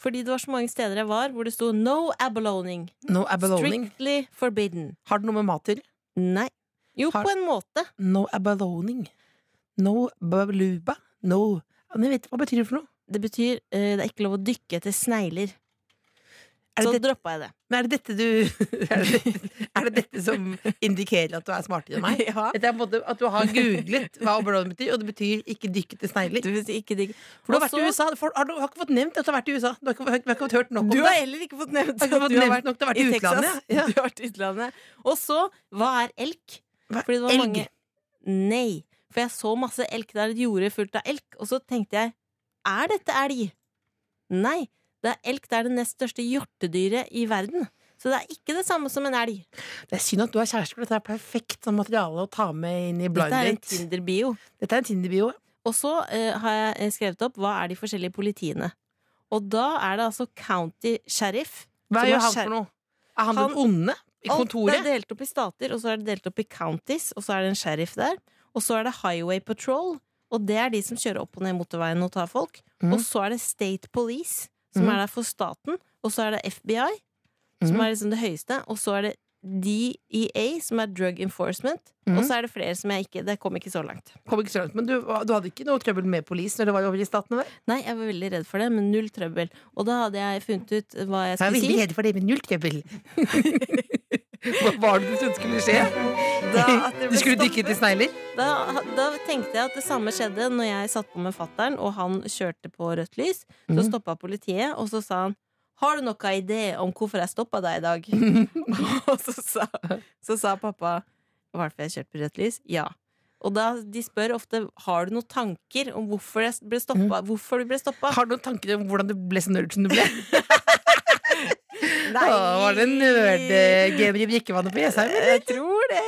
Speaker 3: Fordi det var så mange steder jeg var hvor det sto no abaloning.
Speaker 4: No abalone.
Speaker 3: Strictly forbidden.
Speaker 4: Har det noe med mat til?
Speaker 3: Nei. Jo,
Speaker 4: Har-
Speaker 3: på en måte.
Speaker 4: No abaloning. No baluba. No Men jeg vet, Hva betyr det for noe?
Speaker 3: Det betyr eh, det er ikke lov å dykke etter snegler.
Speaker 4: Er
Speaker 3: Så
Speaker 4: det, dette,
Speaker 3: droppa jeg det.
Speaker 4: men er det dette du <laughs> er det, er det dette som indikerer at du er smartere enn meg?
Speaker 3: Ja.
Speaker 4: Dette er på en måte At du har googlet hva abaloning betyr, og det betyr ikke dykke til
Speaker 3: Du,
Speaker 4: snegler.
Speaker 3: ikke digg.
Speaker 4: For du har vært
Speaker 3: Og så-
Speaker 4: i USA. For, har du har ikke fått nevnt at du har vært i USA. Du har ikke, du har ikke fått hørt nok om
Speaker 3: Du
Speaker 4: det.
Speaker 3: har heller ikke fått nevnt
Speaker 4: Jeg har ikke
Speaker 3: at
Speaker 4: fått
Speaker 3: du har
Speaker 4: nevnt
Speaker 3: vært
Speaker 4: nok, du har vært i
Speaker 3: Texas.
Speaker 4: utlandet, ja.
Speaker 3: <laughs> Du har vært i utlandet. Og så, hva er elk?
Speaker 4: Hva-
Speaker 3: Fordi det var
Speaker 4: elg?
Speaker 3: mange- Nei. For jeg så masse elk der, et jorde fullt av elk, og så tenkte jeg er dette elg? Nei. Det er elk det er det nest største hjortedyret i verden. Så det er ikke det samme som en elg.
Speaker 4: Det er synd at du har kjæreste, for dette er perfekt sånn materiale å ta med inn i blind
Speaker 3: Dette er en
Speaker 4: date.
Speaker 3: Tinder-bio.
Speaker 4: Dette er en Tinder-bio.
Speaker 3: Og så eh, har jeg eh, skrevet opp hva er de forskjellige politiene. Og da er det altså county sheriff.
Speaker 4: Hva
Speaker 3: som
Speaker 4: gjør
Speaker 3: har
Speaker 4: han
Speaker 3: skjer-
Speaker 4: for noe? Er han den
Speaker 3: Han-
Speaker 4: onde? I
Speaker 3: Alt
Speaker 4: kontoret?
Speaker 3: er delt opp i stater, og så er det delt opp i counties, og så er det en sheriff der. Og så er det Highway Patrol, og det er de som kjører opp og ned motorveien og tar folk.
Speaker 4: Mhm.
Speaker 3: Og så er det State Police, som
Speaker 4: Mhm.
Speaker 3: er der for staten. Og så er det FBI, som
Speaker 4: Mhm.
Speaker 3: er liksom det høyeste. Og så er det DEA, som er Drug Enforcement.
Speaker 4: Mhm.
Speaker 3: Og så er det flere som jeg ikke Det kom ikke så langt.
Speaker 4: Kom ikke så langt, men du, du hadde ikke noe trøbbel med polis når det var over i statene der?
Speaker 3: Nei, jeg var veldig redd for det, men null trøbbel. Og da hadde jeg funnet ut hva jeg
Speaker 4: Jeg er
Speaker 3: skulle
Speaker 4: veldig
Speaker 3: si.
Speaker 4: redd for det med null trøbbel. <laughs> Hva var det du trodde skulle skje?
Speaker 3: Da, at det
Speaker 4: Du
Speaker 3: ble
Speaker 4: skulle
Speaker 3: stoppet.
Speaker 4: dykke etter snegler?
Speaker 3: Da, da tenkte jeg at det samme skjedde når jeg satt på med fattern, og han kjørte på rødt lys. Så
Speaker 4: Mhm.
Speaker 3: stoppa politiet, og så sa han har du noen idé om hvorfor jeg stoppa deg i dag?
Speaker 4: <laughs>
Speaker 3: og så sa, så sa pappa Hvorfor jeg kjørte på rødt lys? Ja. Og da, de spør ofte har du noen tanker om hvorfor, jeg ble
Speaker 4: Mhm.
Speaker 3: stoppa, hvorfor du ble stoppa.
Speaker 4: Har du noen tanker om hvordan du ble så nerd som du ble?
Speaker 3: Nei.
Speaker 4: Å, var det nerdgamer i drikkevannet på Jessheim? eller?
Speaker 3: Jeg tror det!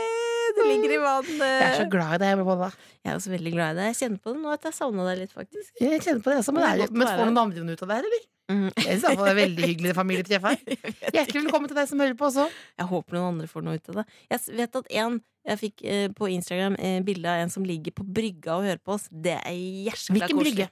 Speaker 3: Det ligger i vannet.
Speaker 4: Jeg er så glad i deg, Bolla.
Speaker 3: Jeg er også veldig glad i deg. Jeg kjenner på det nå at jeg savna deg litt, faktisk.
Speaker 4: Jeg kjenner på det også, men,
Speaker 3: Det er
Speaker 4: det er,
Speaker 3: godt å
Speaker 4: men
Speaker 3: være
Speaker 4: får noen andre noe ut av det her, eller?
Speaker 3: Mm.
Speaker 4: Jeg synes i hvert fall det er veldig hyggelig
Speaker 3: <laughs>
Speaker 4: familietreff her. Hjertelig velkommen til deg som hører på også.
Speaker 3: Jeg håper noen andre får noe ut av det. Jeg s- vet at en jeg fikk eh, på Instagram eh, bilde av en som ligger på brygga og hører på oss. Det er jæskla
Speaker 4: Hvilken brygge?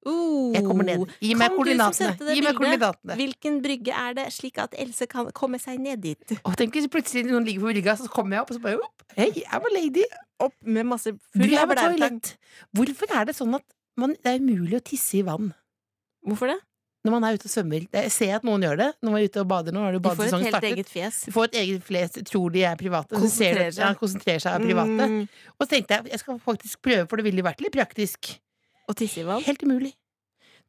Speaker 3: Uh,
Speaker 4: Jeg kommer ned. Gi
Speaker 3: kan du
Speaker 4: meg
Speaker 3: som
Speaker 4: koordinatene.
Speaker 3: sendte det
Speaker 4: Gi meg
Speaker 3: bildet,
Speaker 4: koordinatene.
Speaker 3: Hvilken brygge er det, slik at Else kan komme seg ned
Speaker 4: <laughs>
Speaker 3: dit?
Speaker 4: Og tenk hvis plutselig noen ligger på brygga, så kommer jeg opp og så bare opp. Hei, I'm a lady.
Speaker 3: Opp med masse
Speaker 4: Du
Speaker 3: full
Speaker 4: er
Speaker 3: av
Speaker 4: på
Speaker 3: blærtang.
Speaker 4: toalett. Hvorfor er det sånn at man, det er umulig å tisse i vann
Speaker 3: Hvorfor det?
Speaker 4: når man er ute og svømmer? Det- Jeg ser at noen gjør det når man er ute og bader. Nå har jo
Speaker 3: De får et
Speaker 4: badesesongen
Speaker 3: helt
Speaker 4: startet.
Speaker 3: eget fjes.
Speaker 4: De får et eget flest, tror de er private. Så ser
Speaker 3: Konsentrerer
Speaker 4: de at
Speaker 3: seg.
Speaker 4: ja, konsentrerer seg er private.
Speaker 3: Mm,
Speaker 4: Og så tenkte jeg jeg skal faktisk prøve, for det ville jo vært litt praktisk.
Speaker 3: og tisse i vann.
Speaker 4: Helt umulig.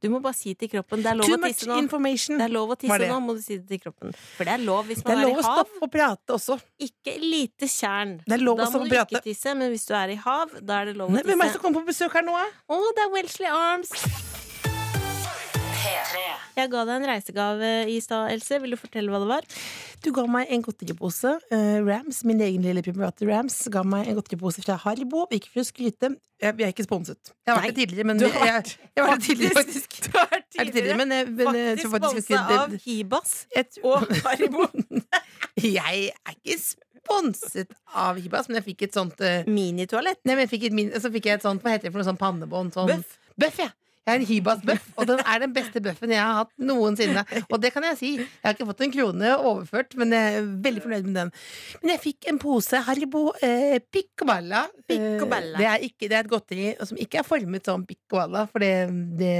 Speaker 3: Du må bare si til kroppen det er lov
Speaker 4: Too
Speaker 3: å
Speaker 4: much
Speaker 3: tisse nå.
Speaker 4: information.
Speaker 3: Det er lov å
Speaker 4: Var
Speaker 3: tisse
Speaker 4: det?
Speaker 3: nå, må du si det til kroppen. For det er lov hvis
Speaker 4: Det
Speaker 3: man
Speaker 4: er
Speaker 3: er,
Speaker 4: lov
Speaker 3: i
Speaker 4: å
Speaker 3: hav.
Speaker 4: stoppe og prate også.
Speaker 3: Ikke lite tjern.
Speaker 4: Det er lov
Speaker 3: Da
Speaker 4: å
Speaker 3: må
Speaker 4: stoppe
Speaker 3: du
Speaker 4: og prate.
Speaker 3: ikke tisse, men hvis du er i hav, da er det lov å
Speaker 4: Nei, Hvem er det
Speaker 3: tisse.
Speaker 4: som kommer på besøk her nå? da?
Speaker 3: Å, det er Welsley Arms! Jeg ga deg en reisegave i stad, Else. Vil du fortelle hva det var?
Speaker 4: Du ga meg en godteripose. eh, Rams, min egen lille private Rams, ga meg en godteripose fra Haribo. Ikke for å skryte. Jeg, jeg er ikke sponset. Jeg har vært det tidligere, men
Speaker 3: Du
Speaker 4: jeg,
Speaker 3: har
Speaker 4: jeg, var det tidligere, faktisk.
Speaker 3: Du <laughs> er
Speaker 4: Jeg er det tidligere, men, jeg- men eh, jeg tror faktisk
Speaker 3: faktisk sponsa
Speaker 4: ikke
Speaker 3: av Hibas.
Speaker 4: Jeg-
Speaker 3: og Haribo.
Speaker 4: <laughs> jeg er ikke sponset av Hibas, men jeg fikk et sånt eh,
Speaker 3: Minitoalett.
Speaker 4: Nei, men jeg fikk et min, Så fikk jeg et sånt, hva heter det for noe sånn pannebånd? Sånn,
Speaker 3: Bøff.
Speaker 4: Bøff, ja. Jeg er en Hibas-bøff, og den er den beste bøffen jeg har hatt noensinne. Og det kan jeg si. Jeg har ikke fått en krone overført, men jeg er veldig fornøyd med den. Men jeg fikk en pose Haribo eh, Picoballa.
Speaker 3: Picoballa.
Speaker 4: det, er ikke, det er et godteri som ikke er formet som Picoballa, for det, det,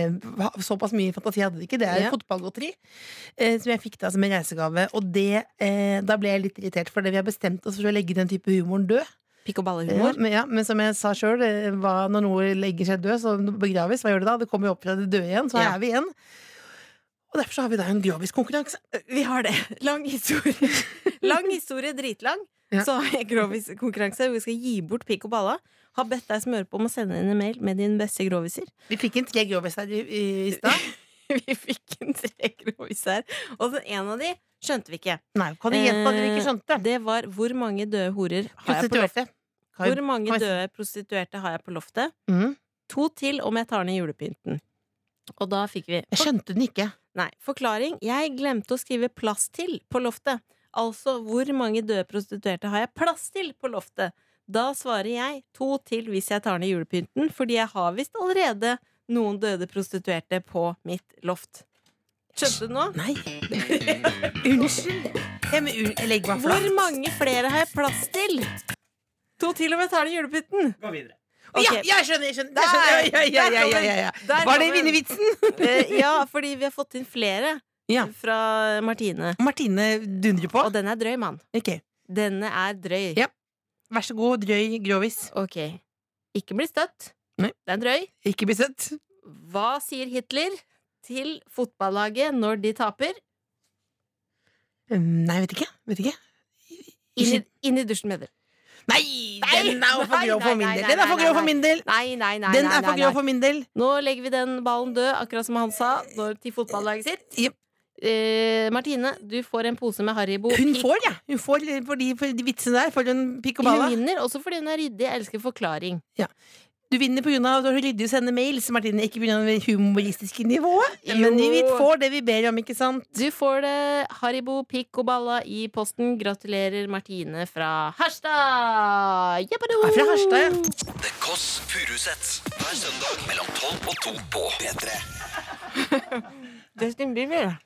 Speaker 4: såpass mye fantasi hadde det ikke. Det er
Speaker 3: Ja.
Speaker 4: fotballgodteri eh, som jeg fikk da som en reisegave. Og det, eh, da ble jeg litt irritert, for det vi har bestemt oss for å legge den type humoren død.
Speaker 3: Pikk og
Speaker 4: Ja,
Speaker 3: ballehumor.
Speaker 4: men, ja, men som jeg sa sjøl, når noe legger seg død, så begraves. Hva gjør det da? Det kommer jo opp fra det døde igjen, så
Speaker 3: Ja.
Speaker 4: er vi igjen. Og derfor så har vi da en groviskonkurranse. Eh,
Speaker 3: Vi har det. <laughs> Lang historie. Lang historie, dritlang.
Speaker 4: Ja.
Speaker 3: Så har jeg groviskonkurranse. Vi skal gi bort pikk og balla. Har bedt deg som hører på om å sende inn en mail med dine beste groviser. <laughs>
Speaker 4: Vi fikk inn tre grovis her i, i, i stad.
Speaker 3: Vi fikk en tre groviser, og den ene av de skjønte vi ikke. Eh,
Speaker 4: Nei, kan du gjenta det vi ikke skjønte?
Speaker 3: Det var hvor mange døde horer har jeg på loftet?
Speaker 4: Prostituerte. Har-
Speaker 3: Hvor mange
Speaker 4: kan vi-
Speaker 3: døde prostituerte har jeg på loftet?
Speaker 4: Mhm.
Speaker 3: To til om jeg tar ned julepynten. Og da fikk vi
Speaker 4: Jeg skjønte den ikke.
Speaker 3: Nei, forklaring. Jeg glemte å skrive 'plass til' på loftet. Altså hvor mange døde prostituerte har jeg plass til på loftet? Da svarer jeg to til hvis jeg tar ned julepynten, fordi jeg har visst allerede noen døde prostituerte på mitt loft. Skjønte du nå?
Speaker 4: Nei. Unnskyld. Jeg, men, un- jeg legger meg
Speaker 3: Hvor
Speaker 4: flatt.
Speaker 3: mange flere har jeg plass til? To til om jeg tar ned julepynten.
Speaker 1: Gå videre.
Speaker 4: Ja,
Speaker 3: Ok.
Speaker 4: jeg skjønner! Jeg skjønner.
Speaker 3: Der,
Speaker 4: Der, skjønner. jeg. Ja,
Speaker 3: der
Speaker 4: ja,
Speaker 3: kom
Speaker 4: ja,
Speaker 3: den.
Speaker 4: ja, ja, ja.
Speaker 3: Der
Speaker 4: Var det
Speaker 3: kom den.
Speaker 4: vinnevitsen?
Speaker 3: Eh, <laughs> Ja, fordi vi har fått inn flere
Speaker 4: Ja.
Speaker 3: fra Martine.
Speaker 4: Martine dundrer på.
Speaker 3: Og den er drøy, mann.
Speaker 4: Ok.
Speaker 3: Denne er drøy.
Speaker 4: Ja. Vær så god, drøy grovis.
Speaker 3: Ok. Ikke bli støtt.
Speaker 4: Nei.
Speaker 3: Det er drøy.
Speaker 4: Ikke bli sett.
Speaker 3: Hva sier Hitler til fotballaget når de taper?
Speaker 4: Um, Nei, vet ikke. Vet ikke.
Speaker 3: Inn i, inn i dusjen med dere.
Speaker 4: Nei,
Speaker 3: Nei,
Speaker 4: den er jo for
Speaker 3: nei,
Speaker 4: grov for
Speaker 3: nei,
Speaker 4: min
Speaker 3: nei,
Speaker 4: del!
Speaker 3: nei,
Speaker 4: Den er for
Speaker 3: nei,
Speaker 4: grov for
Speaker 3: nei.
Speaker 4: min del!
Speaker 3: Nei, nei, nei.
Speaker 4: Den
Speaker 3: nei,
Speaker 4: er for
Speaker 3: nei,
Speaker 4: grov
Speaker 3: nei.
Speaker 4: for min del!
Speaker 3: Nå legger vi den ballen død, akkurat som han sa, når, til fotballaget sitt.
Speaker 4: Jep.
Speaker 3: Eh, Martine, du får en pose med Haribo.
Speaker 4: Hun
Speaker 3: Pikk-
Speaker 4: får, ja. Hun får litt for de, for de vitsene der. For hun pikk og
Speaker 3: Hun
Speaker 4: balla.
Speaker 3: vinner, også fordi hun er ryddig. Jeg elsker forklaring.
Speaker 4: Du vinner pga. at du har ryddig å sende mails, Martine. Ikke pga. det humoristiske nivået.
Speaker 3: Jo.
Speaker 4: Men vi får det vi ber om, ikke sant?
Speaker 3: Du får det Haribo, pikk og balla i posten. Gratulerer, Martine fra Harstad! Jeppado!
Speaker 4: Jeg er fra Harstad, ja.
Speaker 2: The Kåss Furuseths. Hver søndag mellom 12 og 2 på P3.
Speaker 3: Justin Bieber.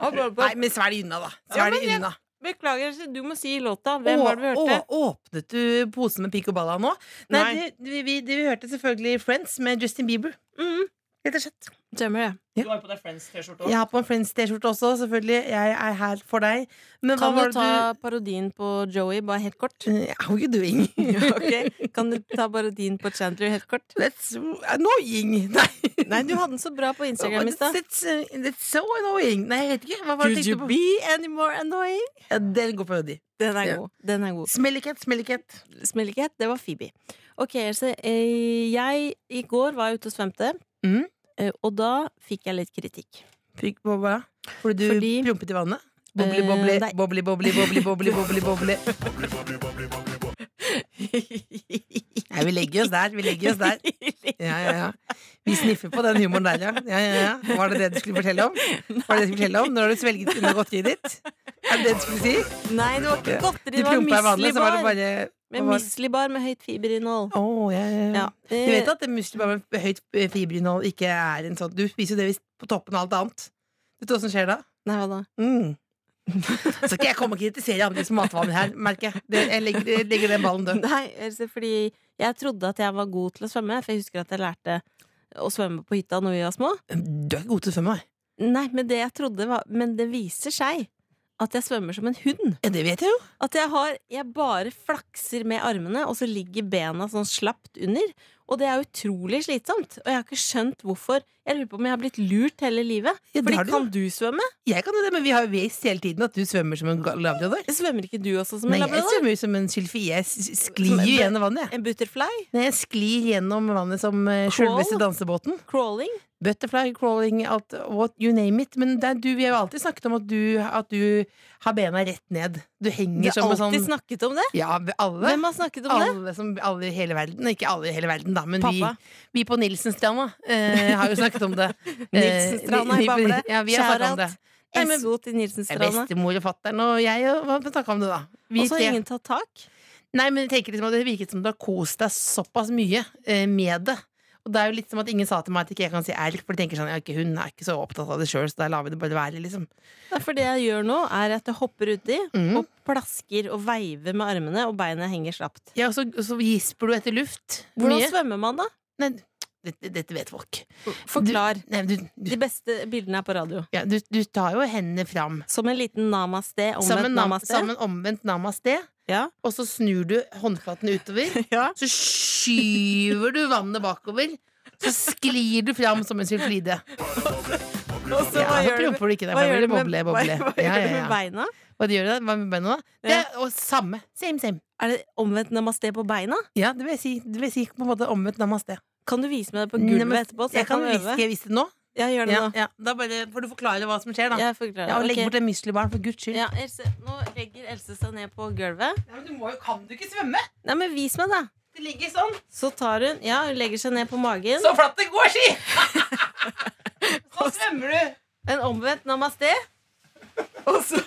Speaker 4: Nei, men svelg unna, da. Svelg
Speaker 3: men jeg-
Speaker 4: unna.
Speaker 3: Beklager, du må si låta. Hvem var det vi
Speaker 4: Å,
Speaker 3: hørte?
Speaker 4: å, åpnet du posen med pikk og balla nå? Nei,
Speaker 3: Nei.
Speaker 4: Du, du, vi, du hørte selvfølgelig Friends med Justin Bieber.
Speaker 3: Mhm.
Speaker 4: Rett og slett.
Speaker 3: Stemmer det.
Speaker 1: Du har jo på deg Friends-T-skjorte
Speaker 4: Jeg har på en Friends-T-skjorte også, selvfølgelig. Jeg er her for deg. Men hva
Speaker 3: Kan
Speaker 4: var
Speaker 3: du
Speaker 4: det
Speaker 3: ta parodien på Joey bare helt kort?
Speaker 4: du <laughs> How you doing?
Speaker 3: <laughs> Ok, Kan du ta parodien på Chandler helt kort?
Speaker 4: That's uh, annoying! <laughs> Nei.
Speaker 3: Nei, du hadde den så bra på Instagram i stad.
Speaker 4: That's, that's so annoying. Nei, jeg vet ikke. Hva var det jeg tenkte på?
Speaker 3: be any more annoying?
Speaker 4: Ja, det er en god parodi.
Speaker 3: Den er
Speaker 4: Ja.
Speaker 3: god. Den er god.
Speaker 4: Smellycat, smellycat.
Speaker 3: Smellighet, det var Phoebe. Ok, Else. eh, Jeg i går var ute og svømte,
Speaker 4: Mhm.
Speaker 3: eh, og da fikk jeg litt <laughs> kritikk.
Speaker 4: Prikk på hva? Fordi du
Speaker 3: Fordi-
Speaker 4: prompet i vannet?
Speaker 3: Eh,
Speaker 4: Bobli, bobli,
Speaker 3: nei.
Speaker 4: bobli, bobli, bobli, bobli, bobli,
Speaker 3: <laughs>
Speaker 4: bobli. Nei, vi legger oss der. Vi
Speaker 3: <laughs>
Speaker 4: legger oss der. Ja, ja, ja. Vi sniffer på den humoren der, ja. ja, ja, ja. Var det det du skulle fortelle om? Var det det du skulle fortelle om? Når du svelget under godteriet ditt? Er det det du skulle si?
Speaker 3: Nei, det var ikke
Speaker 4: Ja.
Speaker 3: godteri,
Speaker 4: Du
Speaker 3: det var
Speaker 4: prompa i vannet, så var det
Speaker 3: muslibar.
Speaker 4: bare
Speaker 3: Med
Speaker 4: hva var-
Speaker 3: muslibar med høyt fiberinnhold.
Speaker 4: Å, ja, ja, ja.
Speaker 3: Ja.
Speaker 4: Du vet at muslibar med høyt fiberinnhold ikke er en sånn Du spiser jo det hvis- på toppen av alt annet. Vet du hva som skjer da?
Speaker 3: Nei, hva da?
Speaker 4: Mm. <laughs> Så skal jeg komme og kritisere andres matvaner her, merker jeg. Det, jeg legger, jeg legger den ballen død.
Speaker 3: Nei, altså, fordi jeg trodde at jeg var god til å svømme, for jeg husker at jeg lærte å svømme på hytta når vi var små.
Speaker 4: Du er ikke god til å svømme, nei.
Speaker 3: Nei, men det jeg trodde var Men det viser seg at jeg svømmer som en hund.
Speaker 4: Ja, det vet jeg jo.
Speaker 3: At jeg har Jeg bare flakser med armene, og så ligger bena sånn slapt under. Og det er utrolig slitsomt. Og jeg har ikke skjønt hvorfor. Jeg lurer på om jeg har blitt lurt hele livet.
Speaker 4: Ja, det har
Speaker 3: Fordi
Speaker 4: du.
Speaker 3: kan du svømme?
Speaker 4: Jeg kan jo det, men vi har jo visst hele tiden at du svømmer som en gal- labrador.
Speaker 3: Svømmer ikke du også som
Speaker 4: Nei,
Speaker 3: en
Speaker 4: jeg
Speaker 3: labrador?
Speaker 4: svømmer jo som en sylfie. Jeg s- s-
Speaker 3: Som
Speaker 4: sklir
Speaker 3: en-
Speaker 4: jo gjennom vannet, jeg.
Speaker 3: En butterfly?
Speaker 4: Nei, jeg sklir gjennom vannet som
Speaker 3: Crawl?
Speaker 4: eh, sjølveste dansebåten.
Speaker 3: Crawling?
Speaker 4: Butterfly crawling, alt, what you name it. Men det er du, vi har jo alltid snakket om at du, at du har bena rett ned. Du
Speaker 3: Vi
Speaker 4: henger
Speaker 3: har
Speaker 4: som en
Speaker 3: alltid
Speaker 4: sånn
Speaker 3: snakket om det.
Speaker 4: Ja, alle.
Speaker 3: Hvem har snakket om det?
Speaker 4: Alle, som, alle i hele verden. Ikke alle i hele verden, da, men vi,
Speaker 3: Pappa.
Speaker 4: vi på Nielsenstranda eh, har jo snakket om
Speaker 3: <laughs>
Speaker 4: det.
Speaker 3: Nielsenstranda i
Speaker 4: Eh, vi- vi-
Speaker 3: Bamble.
Speaker 4: Ja, vi har snakket om det.
Speaker 3: Shout-out.
Speaker 4: Nei, men-
Speaker 3: SO til
Speaker 4: Det er
Speaker 3: Nielsenstranda.
Speaker 4: Bestemor og fatter'n og jeg og hva snakka om det, da. Vi
Speaker 3: Og så har
Speaker 4: tre.
Speaker 3: ingen tatt tak.
Speaker 4: Nei, men jeg tenker liksom at Det virket som du har kost deg såpass mye eh, med det. Og det er jo litt som at Ingen sa til meg at ikke jeg kan si elg, for de tenker sånn ja, ikke, hun er ikke så opptatt av det sjøl, så da lar vi det bare være. liksom
Speaker 3: Nei, For det jeg gjør nå, er at jeg hopper uti
Speaker 4: Mhm.
Speaker 3: og plasker og veiver med armene, og beina henger slapt.
Speaker 4: Ja, og så, og så gisper du etter luft.
Speaker 3: Hvordan
Speaker 4: Mye.
Speaker 3: svømmer man, da?
Speaker 4: Nei, dette, dette vet folk.
Speaker 3: Forklar.
Speaker 4: Nei, men du, du,
Speaker 3: De beste bildene er på radio.
Speaker 4: ja, du, du tar jo hendene fram.
Speaker 3: Som en liten namaste.
Speaker 4: Som
Speaker 3: Omvendt
Speaker 4: en, nam,
Speaker 3: namaste.
Speaker 4: som en omvendt namaste.
Speaker 3: Ja.
Speaker 4: <laughs> Og så snur du håndflatene
Speaker 3: <laughs>
Speaker 4: utover. Så skyver du vannet bakover. Så sklir du fram som en sylflide.
Speaker 3: Og så
Speaker 4: Ja, nå promper du ikke der, for da blir det boble, boble.
Speaker 3: hva, hva
Speaker 4: Ja,
Speaker 3: gjør du
Speaker 4: ja,
Speaker 3: med
Speaker 4: ja.
Speaker 3: beina?
Speaker 4: Hva gjør du da? Hva med beina da? Det
Speaker 3: Ja.
Speaker 4: er, og samme. Same, same.
Speaker 3: Er det omvendt namaste på beina?
Speaker 4: Ja, det vil jeg si. Det vil jeg si på en måte omvendt namaste.
Speaker 3: Kan du vise meg det på gulvet
Speaker 4: Namaste.
Speaker 3: etterpå, så
Speaker 4: Jeg
Speaker 3: jeg kan,
Speaker 4: kan hviske
Speaker 3: øve?
Speaker 4: jeg visste det nå.
Speaker 3: Ja, gjør det
Speaker 4: Ja,
Speaker 3: nå.
Speaker 4: ja. Da bare får du forklare hva som skjer, da.
Speaker 3: Jeg forklarer.
Speaker 4: Ja, og legg
Speaker 3: Ok.
Speaker 4: bort det muskelbarn, for guds skyld.
Speaker 3: ja, Else, nå legger Else seg ned på gulvet.
Speaker 4: men du må jo, kan du ikke svømme?
Speaker 3: Nei, men vis meg, da!
Speaker 4: Det ligger sånn.
Speaker 3: Så tar hun Ja, hun legger seg ned på magen.
Speaker 4: Så flatt det går, si! <laughs> så svømmer du.
Speaker 3: En omvendt namaste. Og så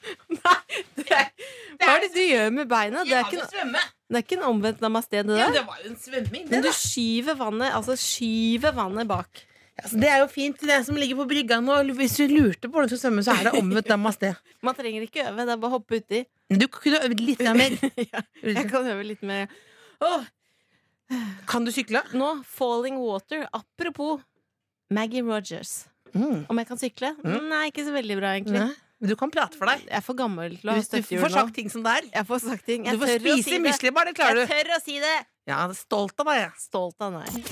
Speaker 4: <laughs>
Speaker 3: Nei, det er, hva er det du gjør med beina? Det er ikke, en-
Speaker 4: svømme.
Speaker 3: det er ikke en omvendt namaste, det der.
Speaker 4: det var jo en svømming,
Speaker 3: Men du skyver vannet, altså skyver vannet bak.
Speaker 4: Altså, det er jo fint til dere som ligger på brygga nå. Hvis du lurte på hvordan du skal svømme, så er det omvendt namaste.
Speaker 3: Man trenger ikke øve, det er bare å hoppe uti.
Speaker 4: Men Du kunne øvd <laughs> litt mer.
Speaker 3: Jeg kan øve litt mer. Åh,
Speaker 4: Kan du sykle?
Speaker 3: nå, Falling Water. Apropos Maggie Rogers.
Speaker 4: Mm.
Speaker 3: Om jeg kan sykle? Nei, ikke så veldig bra, egentlig.
Speaker 4: Nei. Men du kan prate for deg.
Speaker 3: Jeg er for gammel til å ha
Speaker 4: Du, du
Speaker 3: støttehjul
Speaker 4: får
Speaker 3: nå.
Speaker 4: sagt ting som det er.
Speaker 3: Jeg får sagt ting. Jeg
Speaker 4: Du får
Speaker 3: tør å si
Speaker 4: spise
Speaker 3: det.
Speaker 4: muslimer, det klarer
Speaker 3: Jeg
Speaker 4: du.
Speaker 3: tør å si det!
Speaker 4: Ja, jeg er stolt av deg. jeg.
Speaker 3: Stolt av meg.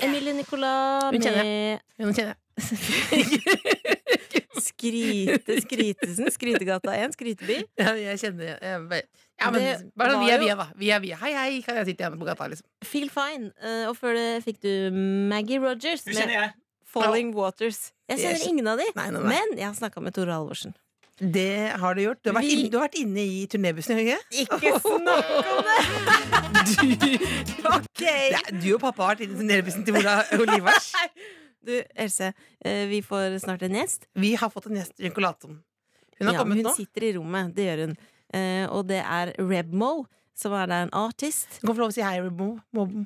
Speaker 3: Emilie Nicolas
Speaker 4: Hun kjenner
Speaker 3: med
Speaker 4: Ja, nå kjenner jeg. <laughs>
Speaker 3: Skryte Skrytesen. Skrytegata 1, Skryteby.
Speaker 4: Ja, jeg kjenner jeg bare- ja, men,
Speaker 3: Det
Speaker 4: bare
Speaker 3: var
Speaker 4: sånn, vi er
Speaker 3: jo-
Speaker 4: via, da. Vi er via. Hei, hei, kan jeg sitte igjen på gata, liksom?
Speaker 3: Feel fine. Eh, Og før det fikk du Maggie Rogers
Speaker 1: Du kjenner
Speaker 3: med
Speaker 1: jeg.
Speaker 3: Falling Waters. Jeg kjenner
Speaker 4: Yes.
Speaker 3: ingen av de,
Speaker 4: Nei, nei, nei.
Speaker 3: men jeg har snakka med Tore Halvorsen.
Speaker 4: Det har du gjort. Du har vært,
Speaker 3: Vi-
Speaker 4: inn- du har vært inne i turnébussen, har du ikke?
Speaker 3: Ikke <laughs> snakk om det!
Speaker 4: Det er- Du og pappa har vært inne i turnébussen til <laughs> Ola Olivers.
Speaker 3: Du, Else, eh, vi får snart en gjest.
Speaker 4: Vi har fått en gjest i Rynkolaton. Hun har
Speaker 3: Ja,
Speaker 4: kommet
Speaker 3: hun
Speaker 4: nå.
Speaker 3: sitter i rommet, det gjør hun. Eh, og det er Rebmo, som er da en artist.
Speaker 4: Du kan få lov å si hei, Rebo. Mobben.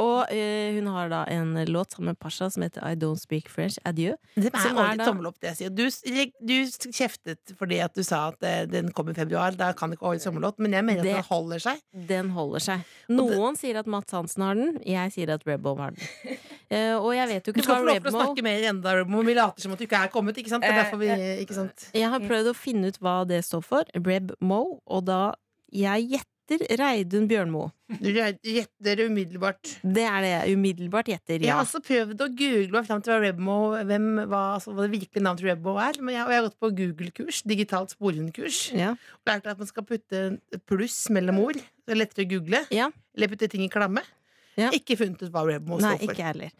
Speaker 3: Og eh, hun har da en låt sammen med Pasha som heter I Don't Speak French Adieu.
Speaker 4: Det er
Speaker 3: Som er
Speaker 4: alltid
Speaker 3: da-
Speaker 4: tommel opp det jeg sier. Du, s- reg- du s- kjeftet fordi at du sa at eh, den kom i februar. Da kan det ikke holde sommerlåt, men jeg mener
Speaker 3: Det-
Speaker 4: at den holder seg.
Speaker 3: Den holder seg. Noen sier at Mats Hansen har den, jeg sier at Rebbo har
Speaker 4: <laughs>
Speaker 3: den. Eh, og jeg vet jo
Speaker 4: Du
Speaker 3: ikke
Speaker 4: skal
Speaker 3: hva
Speaker 4: få lov til å
Speaker 3: Rebmo
Speaker 4: snakke mer enda, Rebo. Vi later som at du ikke er kommet, ikke sant? Det er derfor
Speaker 3: Eh,
Speaker 4: vi, ikke sant?
Speaker 3: Jeg har prøvd å finne ut hva det står for. Rebmo, og da Jeg gjetter Reidun Bjørnmo.
Speaker 4: Du gjetter umiddelbart.
Speaker 3: Det er det jeg umiddelbart gjetter.
Speaker 4: Jeg
Speaker 3: Ja.
Speaker 4: har også prøvd å google meg fram til hva Rebmo hvem, hva, altså, hva det virkelige navnet til Rebmo er. Men jeg, og jeg har gått på Google-kurs, digitalt sporenkurs.
Speaker 3: Ja.
Speaker 4: Og lært at man skal putte en pluss mellom ord. Så det er lettere å google.
Speaker 3: Ja.
Speaker 4: Eller putte ting i klamme.
Speaker 3: Ja.
Speaker 4: Ikke funnet ut hva Rebmo
Speaker 3: Nei,
Speaker 4: står for.
Speaker 3: ikke jeg heller.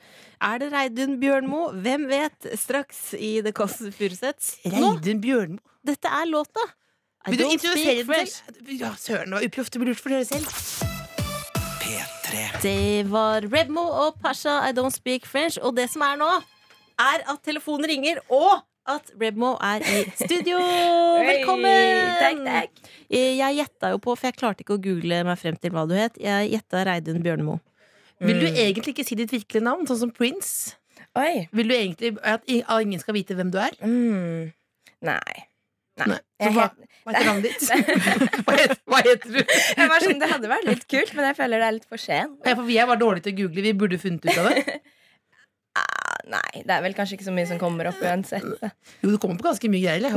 Speaker 3: Er det Reidun Bjørnmo? Hvem vet? Straks i The Kåss Furuseths. Nå!
Speaker 4: Reidun Bjørnmo.
Speaker 3: Dette er låta! I
Speaker 4: Vil du
Speaker 3: don't
Speaker 4: introdusere
Speaker 3: speak
Speaker 4: den
Speaker 3: French.
Speaker 4: selv? Ja, søren, det var uproft. Det blir lurt for dere selv.
Speaker 2: P3.
Speaker 3: Det var Rebmo og Pasha I Don't Speak French. Og det som er nå, er at telefonen ringer, og at Rebmo er i
Speaker 7: <laughs>
Speaker 3: studio. Velkommen!
Speaker 7: takk, takk.
Speaker 3: Eh, Jeg gjetta jo på, for jeg klarte ikke å google meg frem til hva du het. Jeg gjetta Reidun Bjørnemo.
Speaker 4: Vil du egentlig ikke si ditt virkelige navn, sånn som Prince?
Speaker 7: Oi.
Speaker 4: Vil du egentlig at i- at ingen skal vite hvem du er?
Speaker 7: Mm. Nei.
Speaker 4: Nei. Så
Speaker 7: Jeg,
Speaker 4: hva,
Speaker 7: het-
Speaker 4: hva heter navnet ditt? Hva heter, hva heter du?
Speaker 7: jeg var sånn, <laughs> Det hadde vært litt kult, men jeg føler det er litt for sent.
Speaker 4: Ja, for vi er bare dårlige til å google. Vi burde funnet ut av det.
Speaker 7: Ah, nei, det er vel kanskje ikke så mye som kommer opp uansett.
Speaker 4: Jo, det kommer på ganske mye greier. eller?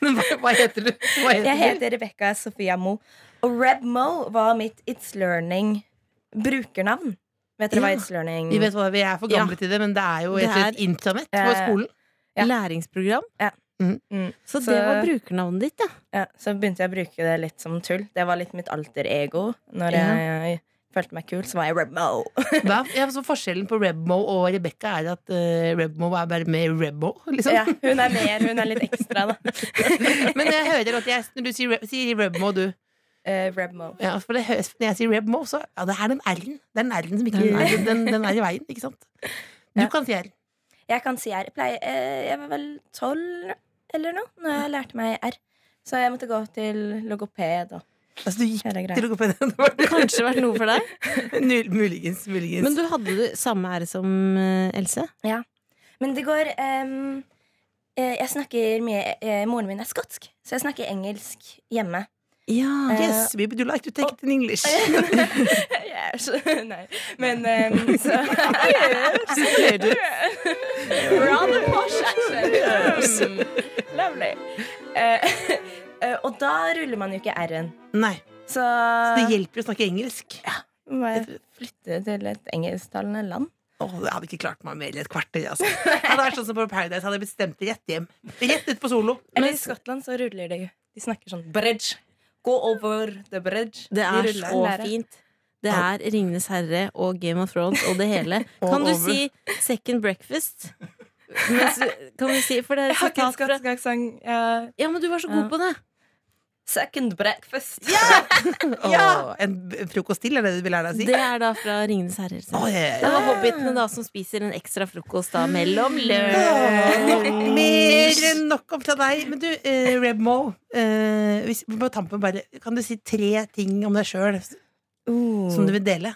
Speaker 4: Men hva, hva heter du? Hva heter
Speaker 7: Jeg heter Rebekka Sofia Mo, og Reb Mo var mitt It's Learning-brukernavn. Vet dere hva
Speaker 4: Ja.
Speaker 7: It's
Speaker 4: du?
Speaker 7: Learning
Speaker 4: Vi vet hva, vi er for gamle til det, men det er jo
Speaker 3: Det
Speaker 4: et, et intranett på
Speaker 7: Eh,
Speaker 4: skolen.
Speaker 7: Ja.
Speaker 3: Læringsprogram.
Speaker 7: Ja. Mm.
Speaker 3: Så,
Speaker 7: Så-
Speaker 3: det var brukernavnet ditt, ja.
Speaker 7: Ja, så begynte jeg å bruke det litt som tull. Det var litt mitt alter ego. Når
Speaker 3: Ja.
Speaker 7: jeg følte meg kul, så var jeg Rebmo.
Speaker 4: Da, ja, så forskjellen på Rebmo og Rebekka er at eh, Rebmo er bare med Rebmo. Liksom.
Speaker 7: <laughs> Ja, hun er mer, hun er litt ekstra, da.
Speaker 4: Men jeg hører at jeg, når du sier, Re- sier Rebmo, du
Speaker 7: Eh, Rebmo.
Speaker 4: ja, for det, høres- Når jeg sier Rebmo, så ja, det er den R-en. Det er den R-en som ikke
Speaker 3: Den
Speaker 4: den, den, er i veien, ikke sant? Du
Speaker 7: Ja.
Speaker 4: kan si R.
Speaker 7: Jeg kan si R. Jeg pleier- eh, jeg var vel tolv eller noe når jeg lærte meg R. Så jeg måtte gå til logoped og
Speaker 4: Altså, du gikk
Speaker 7: hele greia.
Speaker 4: til å gå på den. <laughs> Det var det.
Speaker 3: Kanskje vært noe for
Speaker 7: <laughs>
Speaker 3: deg.
Speaker 4: Nul- Muligens. muligens.
Speaker 3: Men du hadde du samme ære som eh, Else?
Speaker 7: Men det går ehm, eh, Jeg snakker mye eh, Moren min er skotsk, så jeg snakker engelsk <laughs> hjemme.
Speaker 3: Ja.
Speaker 4: yes, baby, do you like to take it in <laughs> English.
Speaker 7: Yes. Nei. Men ehm, så <laughs>
Speaker 4: Ser du?
Speaker 7: We're on the posh action. <laughs> Lovely. Eh, <laughs> eh, og da ruller man jo ikke R-en.
Speaker 4: Nei.
Speaker 7: Så,
Speaker 4: Så det hjelper å snakke engelsk.
Speaker 7: må jeg flytte til et engelsktalende land.
Speaker 4: Åh, jeg hadde ikke klart meg mer enn et kvarter. Altså. Hadde det vært sånn som på Paradise hadde jeg bestemt rett hjem. Rett ut på solo.
Speaker 7: Eller i Skottland så ruller de. De snakker sånn bridge. Go over the bridge.
Speaker 3: Det
Speaker 7: De
Speaker 3: er
Speaker 7: ruller.
Speaker 3: så fint. Det er Ringenes herre og Game of Thrones og det hele.
Speaker 4: <laughs> Og
Speaker 3: Kan du
Speaker 4: over.
Speaker 3: si second breakfast? Mens du- kan du si, for det er et
Speaker 7: Jeg har ikke en
Speaker 3: sitat fra
Speaker 7: skotsk aksent. eh,
Speaker 3: Ja, men du var så god
Speaker 7: Ja.
Speaker 3: på det.
Speaker 7: Second breakfast.
Speaker 4: <laughs> Åh, en b- frokost til, er det du vil lære deg å si?
Speaker 3: Det er da fra Ringenes herrer.
Speaker 4: Åh,
Speaker 3: sant?
Speaker 4: ja,
Speaker 3: Det
Speaker 4: ja,
Speaker 3: var hobbitene da som spiser en ekstra frokost da mellom
Speaker 4: ja. Åh,
Speaker 3: løv.
Speaker 4: Eh, Mer enn nok om fra deg. Men du, eh, Reb Mo, eh, hvis, på tampen bare, kan du si tre ting om deg sjøl
Speaker 7: Uh.
Speaker 4: som du vil dele?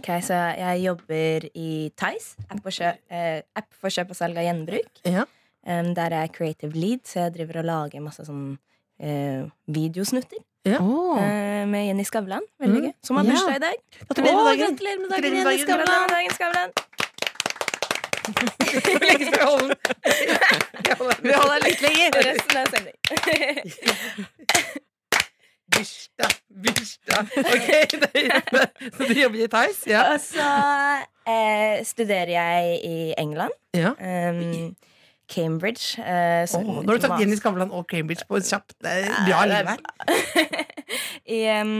Speaker 7: Ok, så jeg jobber i Tice, app, for kjø- eh, app for kjøp og salg av gjenbruk.
Speaker 4: Ja.
Speaker 7: Em, der er jeg creative lead, så jeg driver og lager masse sånn eh, videosnutter
Speaker 3: Åh.
Speaker 7: eh, med Jenny Skavlan. Veldig
Speaker 4: Mm.
Speaker 7: gøy. Som har
Speaker 3: Ja.
Speaker 7: bursdag i dag.
Speaker 4: Gratulerer med
Speaker 3: Åh,
Speaker 4: dagen. <laughs>
Speaker 3: gratulerer med
Speaker 4: Gratulerer
Speaker 3: dagen,
Speaker 4: med
Speaker 3: Jenny
Speaker 4: dagen.
Speaker 3: Skavlan.
Speaker 7: Skavlan, dagen Skavlan.
Speaker 4: Vi holder litt lenger.
Speaker 7: Resten er sending. <laughs>
Speaker 4: Bursdag, bursdag. Ok, det er greit. Så du jobber i Theis? Ja.
Speaker 7: Og så eh, studerer jeg i England.
Speaker 4: ja.
Speaker 7: em, Cambridge. Eh, så-
Speaker 4: Åh, nå har du tatt Jenny Skavlan og Cambridge på kjapt. Det er bra
Speaker 7: det er
Speaker 4: liv her.
Speaker 7: I em,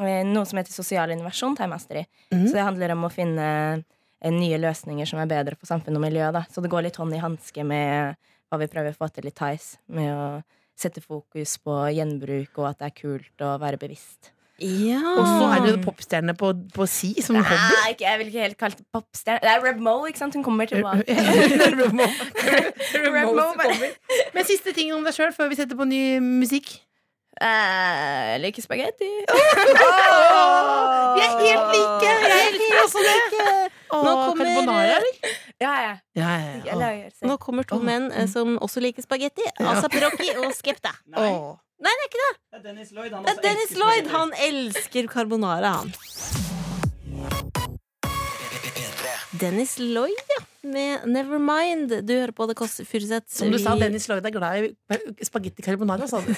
Speaker 7: eh, noe som heter sosial innovasjon, tar jeg master i.
Speaker 4: Mhm.
Speaker 7: Så det handler om å finne eh, nye løsninger som er bedre for samfunn og miljø. Da. Så det går litt hånd i hanske med hva vi prøver å få til i Tice. Med å sette fokus på gjenbruk, og at det er kult å være bevisst.
Speaker 3: Ja.
Speaker 4: Og så er det jo popstjerne på, på si som <laughs> hobby.
Speaker 7: Nei, Ah, ikke, jeg vil ikke helt kalle det popstjerne. Det er Reb Mo, ikke sant? Hun kommer
Speaker 4: <laughs>
Speaker 7: tilbake.
Speaker 4: Remote.
Speaker 7: Remote
Speaker 4: Remote kommer. Men siste ting om deg sjøl før vi setter på ny musikk.
Speaker 7: Eh, liker spagetti.
Speaker 4: Vi er helt like! Jeg elsker også det.
Speaker 3: Nå
Speaker 4: Og
Speaker 3: kommer-
Speaker 4: carbonara, eller?
Speaker 7: Ja, ja.
Speaker 4: Ja,
Speaker 7: Jeg
Speaker 4: ja,
Speaker 7: lager selv.
Speaker 3: Nå kommer to
Speaker 4: Åh.
Speaker 3: menn eh, som også liker spagetti. Asa Perocchi og Skepta.
Speaker 4: ja. Åh.
Speaker 3: Nei, det er ikke det.
Speaker 1: Det er Dennis Lloyd, han
Speaker 3: Det er
Speaker 1: også
Speaker 3: Dennis
Speaker 1: elsker
Speaker 3: Lloyd.
Speaker 1: spagetti.
Speaker 3: Han elsker carbonara, han. Dennis Lloyd, ja. Med Nevermind. Du hører på Det koster Furuseth.
Speaker 4: Som du sa,
Speaker 3: Vi-
Speaker 4: Dennis Lloyd er glad i spagetti carbonara, sa du.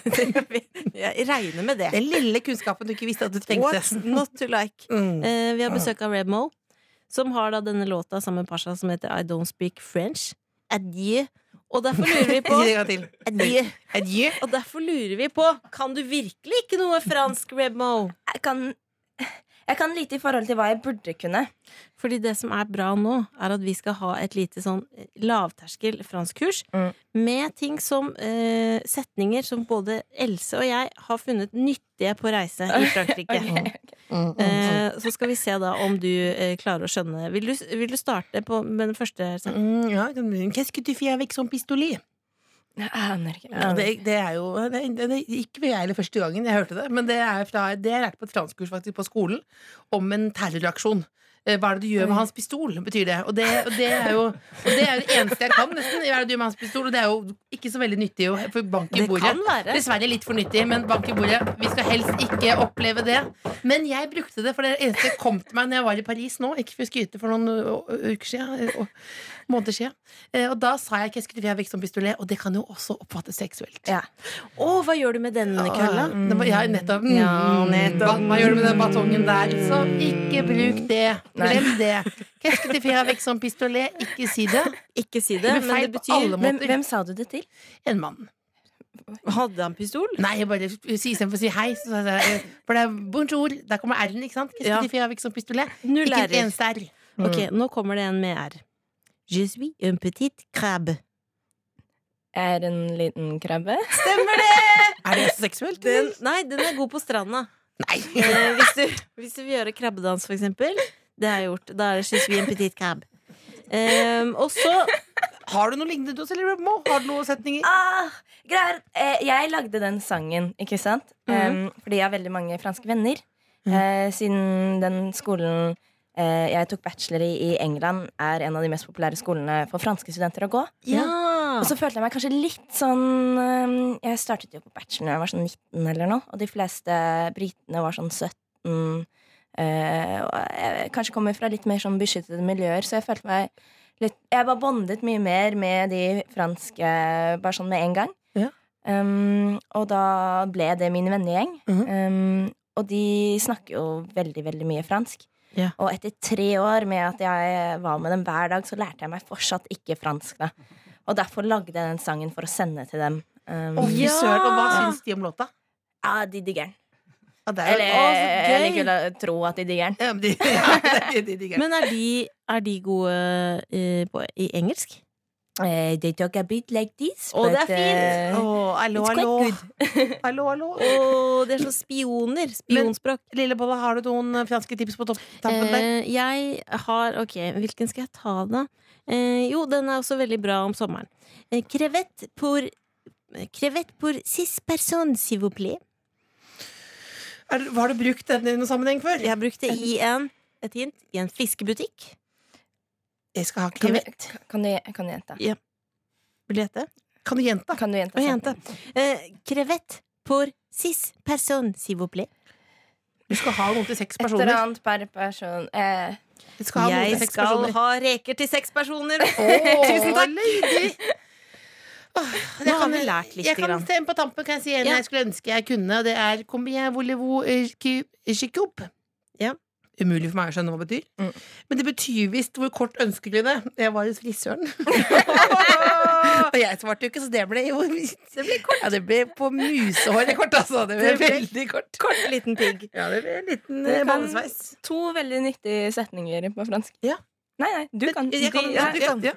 Speaker 3: Jeg regner med det.
Speaker 4: Den lille kunnskapen du ikke visste at du
Speaker 3: What's
Speaker 4: trengte.
Speaker 3: not to like?
Speaker 4: Mm.
Speaker 3: Eh, vi har besøk av Reb Mo, som har da denne låta sammen med Pasha som heter I Don't Speak French. Adieu. Og derfor lurer vi på
Speaker 4: <laughs> Si det en gang til.
Speaker 3: Adieu.
Speaker 4: Adieu.
Speaker 3: Og derfor lurer vi på Kan du virkelig ikke noe fransk, Reb Mo?
Speaker 7: Jeg kan, jeg kan lite i forhold til hva jeg burde kunne.
Speaker 3: Fordi det som er bra nå, er at vi skal ha et lite sånn lavterskel franskkurs
Speaker 7: Mm.
Speaker 3: med ting som eh, setninger som både Else og jeg har funnet nyttige på reise i
Speaker 4: <laughs>
Speaker 3: Frankrike. Eh, så skal vi se da om du eh, klarer å skjønne Vil du, vil du starte på med den første? setningen?
Speaker 4: Mm, ja, Qu'est-ce que tu fais avec son pistolet?
Speaker 7: Jeg aner ikke.
Speaker 4: Ja, det, det er jo det, det, det, Ikke jeg heller første gangen jeg hørte det, men det er fra Det jeg lærte på et franskkurs faktisk på skolen, om en terroraksjon. Eh, Hva er det du gjør med hans pistol, betyr det. Og det, og det er jo og det er jo det eneste jeg kan, nesten. Hva er det du gjør med hans pistol? Og det er jo ikke så veldig nyttig å få bank i
Speaker 3: Det
Speaker 4: bordet.
Speaker 3: kan være.
Speaker 4: Dessverre litt for nyttig, men bank i bordet. Vi skal helst ikke oppleve det. Men jeg brukte det, for det eneste kom til meg når jeg var i Paris nå. Ikke for å skryte for noen ø, ø, uker siden. ø, ø, Måneder siden. Eh, Og da sa jeg 'qu'est-ce que tu fais avec son pistolet', og det kan jo også oppfattes seksuelt.
Speaker 7: Ja.
Speaker 3: Å, hva gjør du med denne kølla?
Speaker 4: Ah, det var- Ja, nettopp. Mm.
Speaker 3: Ja, nettopp.
Speaker 4: Hva- Hva gjør du med den batongen der? Så ikke bruk det.
Speaker 7: Nei.
Speaker 4: Glem det. Kæske til fire vekk som pistolet, ikke si det.
Speaker 3: Ikke si det,
Speaker 4: Det blir
Speaker 3: men
Speaker 4: feil
Speaker 3: det
Speaker 4: på
Speaker 3: betyr
Speaker 4: alle måter.
Speaker 7: Hvem, hvem sa du det til?
Speaker 4: En mann.
Speaker 3: Hadde han pistol?
Speaker 4: Nei, jeg bare si istedenfor å si hei. Så, sa jeg, eh, for det er bonjour, der kommer R-en, ikke sant? Kæske
Speaker 3: Ja.
Speaker 4: til fire vekk som pistolet.
Speaker 3: Null
Speaker 4: Ikke et
Speaker 3: ærer.
Speaker 4: eneste R.
Speaker 3: Ok, nå kommer det en med R. Je suis un petit crabbe.
Speaker 7: Jeg er en liten krabbe.
Speaker 3: Stemmer det!
Speaker 4: Er det også seksuelt?
Speaker 3: Den, nei, den er god på stranda.
Speaker 4: Nei.
Speaker 3: <laughs> Eh, hvis, du, hvis du vil gjøre krabbedans, for eksempel. Det har jeg gjort. Da er det je suis un petit crabbe. Ehm, og så
Speaker 4: <laughs> Har du noe lignende du også, eller Mo? Har du noen setninger?
Speaker 7: <laughs> Ah, greier. Eh, jeg lagde den sangen, ikke sant? Em, fordi jeg har veldig mange franske venner. Eh, siden den skolen eh, jeg tok bachelor i i England, er en av de mest populære skolene for franske studenter å gå.
Speaker 3: Ja!
Speaker 7: Og så følte jeg meg kanskje litt sånn ehm, Jeg startet jo på bacheloren da jeg var sånn 19 eller noe, og de fleste britene var sånn 17. eh, og jeg kanskje kommer fra litt mer sånn beskyttede miljøer, så jeg følte meg litt Jeg bare bondet mye mer med de franske bare sånn med en gang.
Speaker 4: Ja.
Speaker 7: Ehm, og da ble det min vennegjeng.
Speaker 4: Mhm.
Speaker 7: Ehm, og de snakker jo veldig, veldig mye fransk.
Speaker 4: Ja.
Speaker 7: Og etter tre år med at jeg var med dem hver dag, så lærte jeg meg fortsatt ikke fransk. da og derfor lagde jeg den sangen for å sende til dem. Um,
Speaker 4: Å, fy
Speaker 3: Ja.
Speaker 4: søren, og hva syns de om låta?
Speaker 7: ja, de digger den.
Speaker 4: Ja, det er jo-
Speaker 7: Eller
Speaker 3: Å, så gøy.
Speaker 7: jeg liker å tro at de digger den.
Speaker 4: Ja, men de, <laughs> ja, de, de, de, de.
Speaker 3: Men er de, er de gode eh, på, i engelsk?
Speaker 7: Eh, they talk a bit like this,
Speaker 3: Å, det er
Speaker 7: but,
Speaker 3: fint.
Speaker 7: eh,
Speaker 4: Å, hallo,
Speaker 7: it's quite
Speaker 4: hallo.
Speaker 7: good.
Speaker 4: <laughs> hallo, hallo.
Speaker 3: Å, det er sånn spioner. Spionspråk.
Speaker 4: Lillebolla, har du noen eh, franske tips på topp, tampen der?
Speaker 3: Eh, jeg har Ok, hvilken skal jeg ta, da? Eh, jo, den er også veldig bra om sommeren. Eh, Krevett pour Krevett pour six personnes, s'il vous plaît.
Speaker 4: Er, har du brukt den i noen sammenheng før?
Speaker 3: Jeg brukte i en et hint i en fiskebutikk.
Speaker 4: Jeg skal ha
Speaker 7: Kan du,
Speaker 4: krevett.
Speaker 7: kan, du, kan du gjenta?
Speaker 3: Vil du gjette?
Speaker 4: Kan du gjenta?
Speaker 7: Kan du gjenta
Speaker 3: Og
Speaker 7: sånn?
Speaker 3: jente. Eh, krevett pour six personnes, s'il vous plaît.
Speaker 4: Du skal ha noen til seks
Speaker 7: Et eller
Speaker 4: personer.
Speaker 7: annet per person. Eh,
Speaker 4: Du skal ha noen
Speaker 3: jeg
Speaker 4: til seks
Speaker 3: skal
Speaker 4: personer.
Speaker 3: ha reker til seks personer!
Speaker 4: Tusen takk! Ah,
Speaker 3: Nå har vi lært lite
Speaker 4: jeg kan
Speaker 3: grann.
Speaker 4: stemme på tampen. Kan jeg si en
Speaker 3: Ja.
Speaker 4: jeg skulle ønske jeg kunne, og det er Combien voulez-vous eh, qui- chicoup?
Speaker 3: Ja.
Speaker 4: Umulig for meg å skjønne hva det betyr.
Speaker 7: Mm.
Speaker 4: Men det betyr visst hvor kort ønsker du det. Jeg var hos frisøren. <laughs> og jeg svarte jo ikke, så det ble jo Det ble kort. Ja, det ble på musehåret kort, altså. Det ble,
Speaker 3: Det ble-
Speaker 4: veldig kort. Kort liten pigg. Ja, det ble en liten
Speaker 7: Det
Speaker 4: eh,
Speaker 7: kan-
Speaker 4: ballesveis.
Speaker 7: to veldig nyttige setninger på fransk.
Speaker 4: Ja.
Speaker 7: Nei, nei, du kan.
Speaker 4: Jeg kan,
Speaker 7: de-
Speaker 4: ja,
Speaker 7: ja.
Speaker 4: du kan. Ja.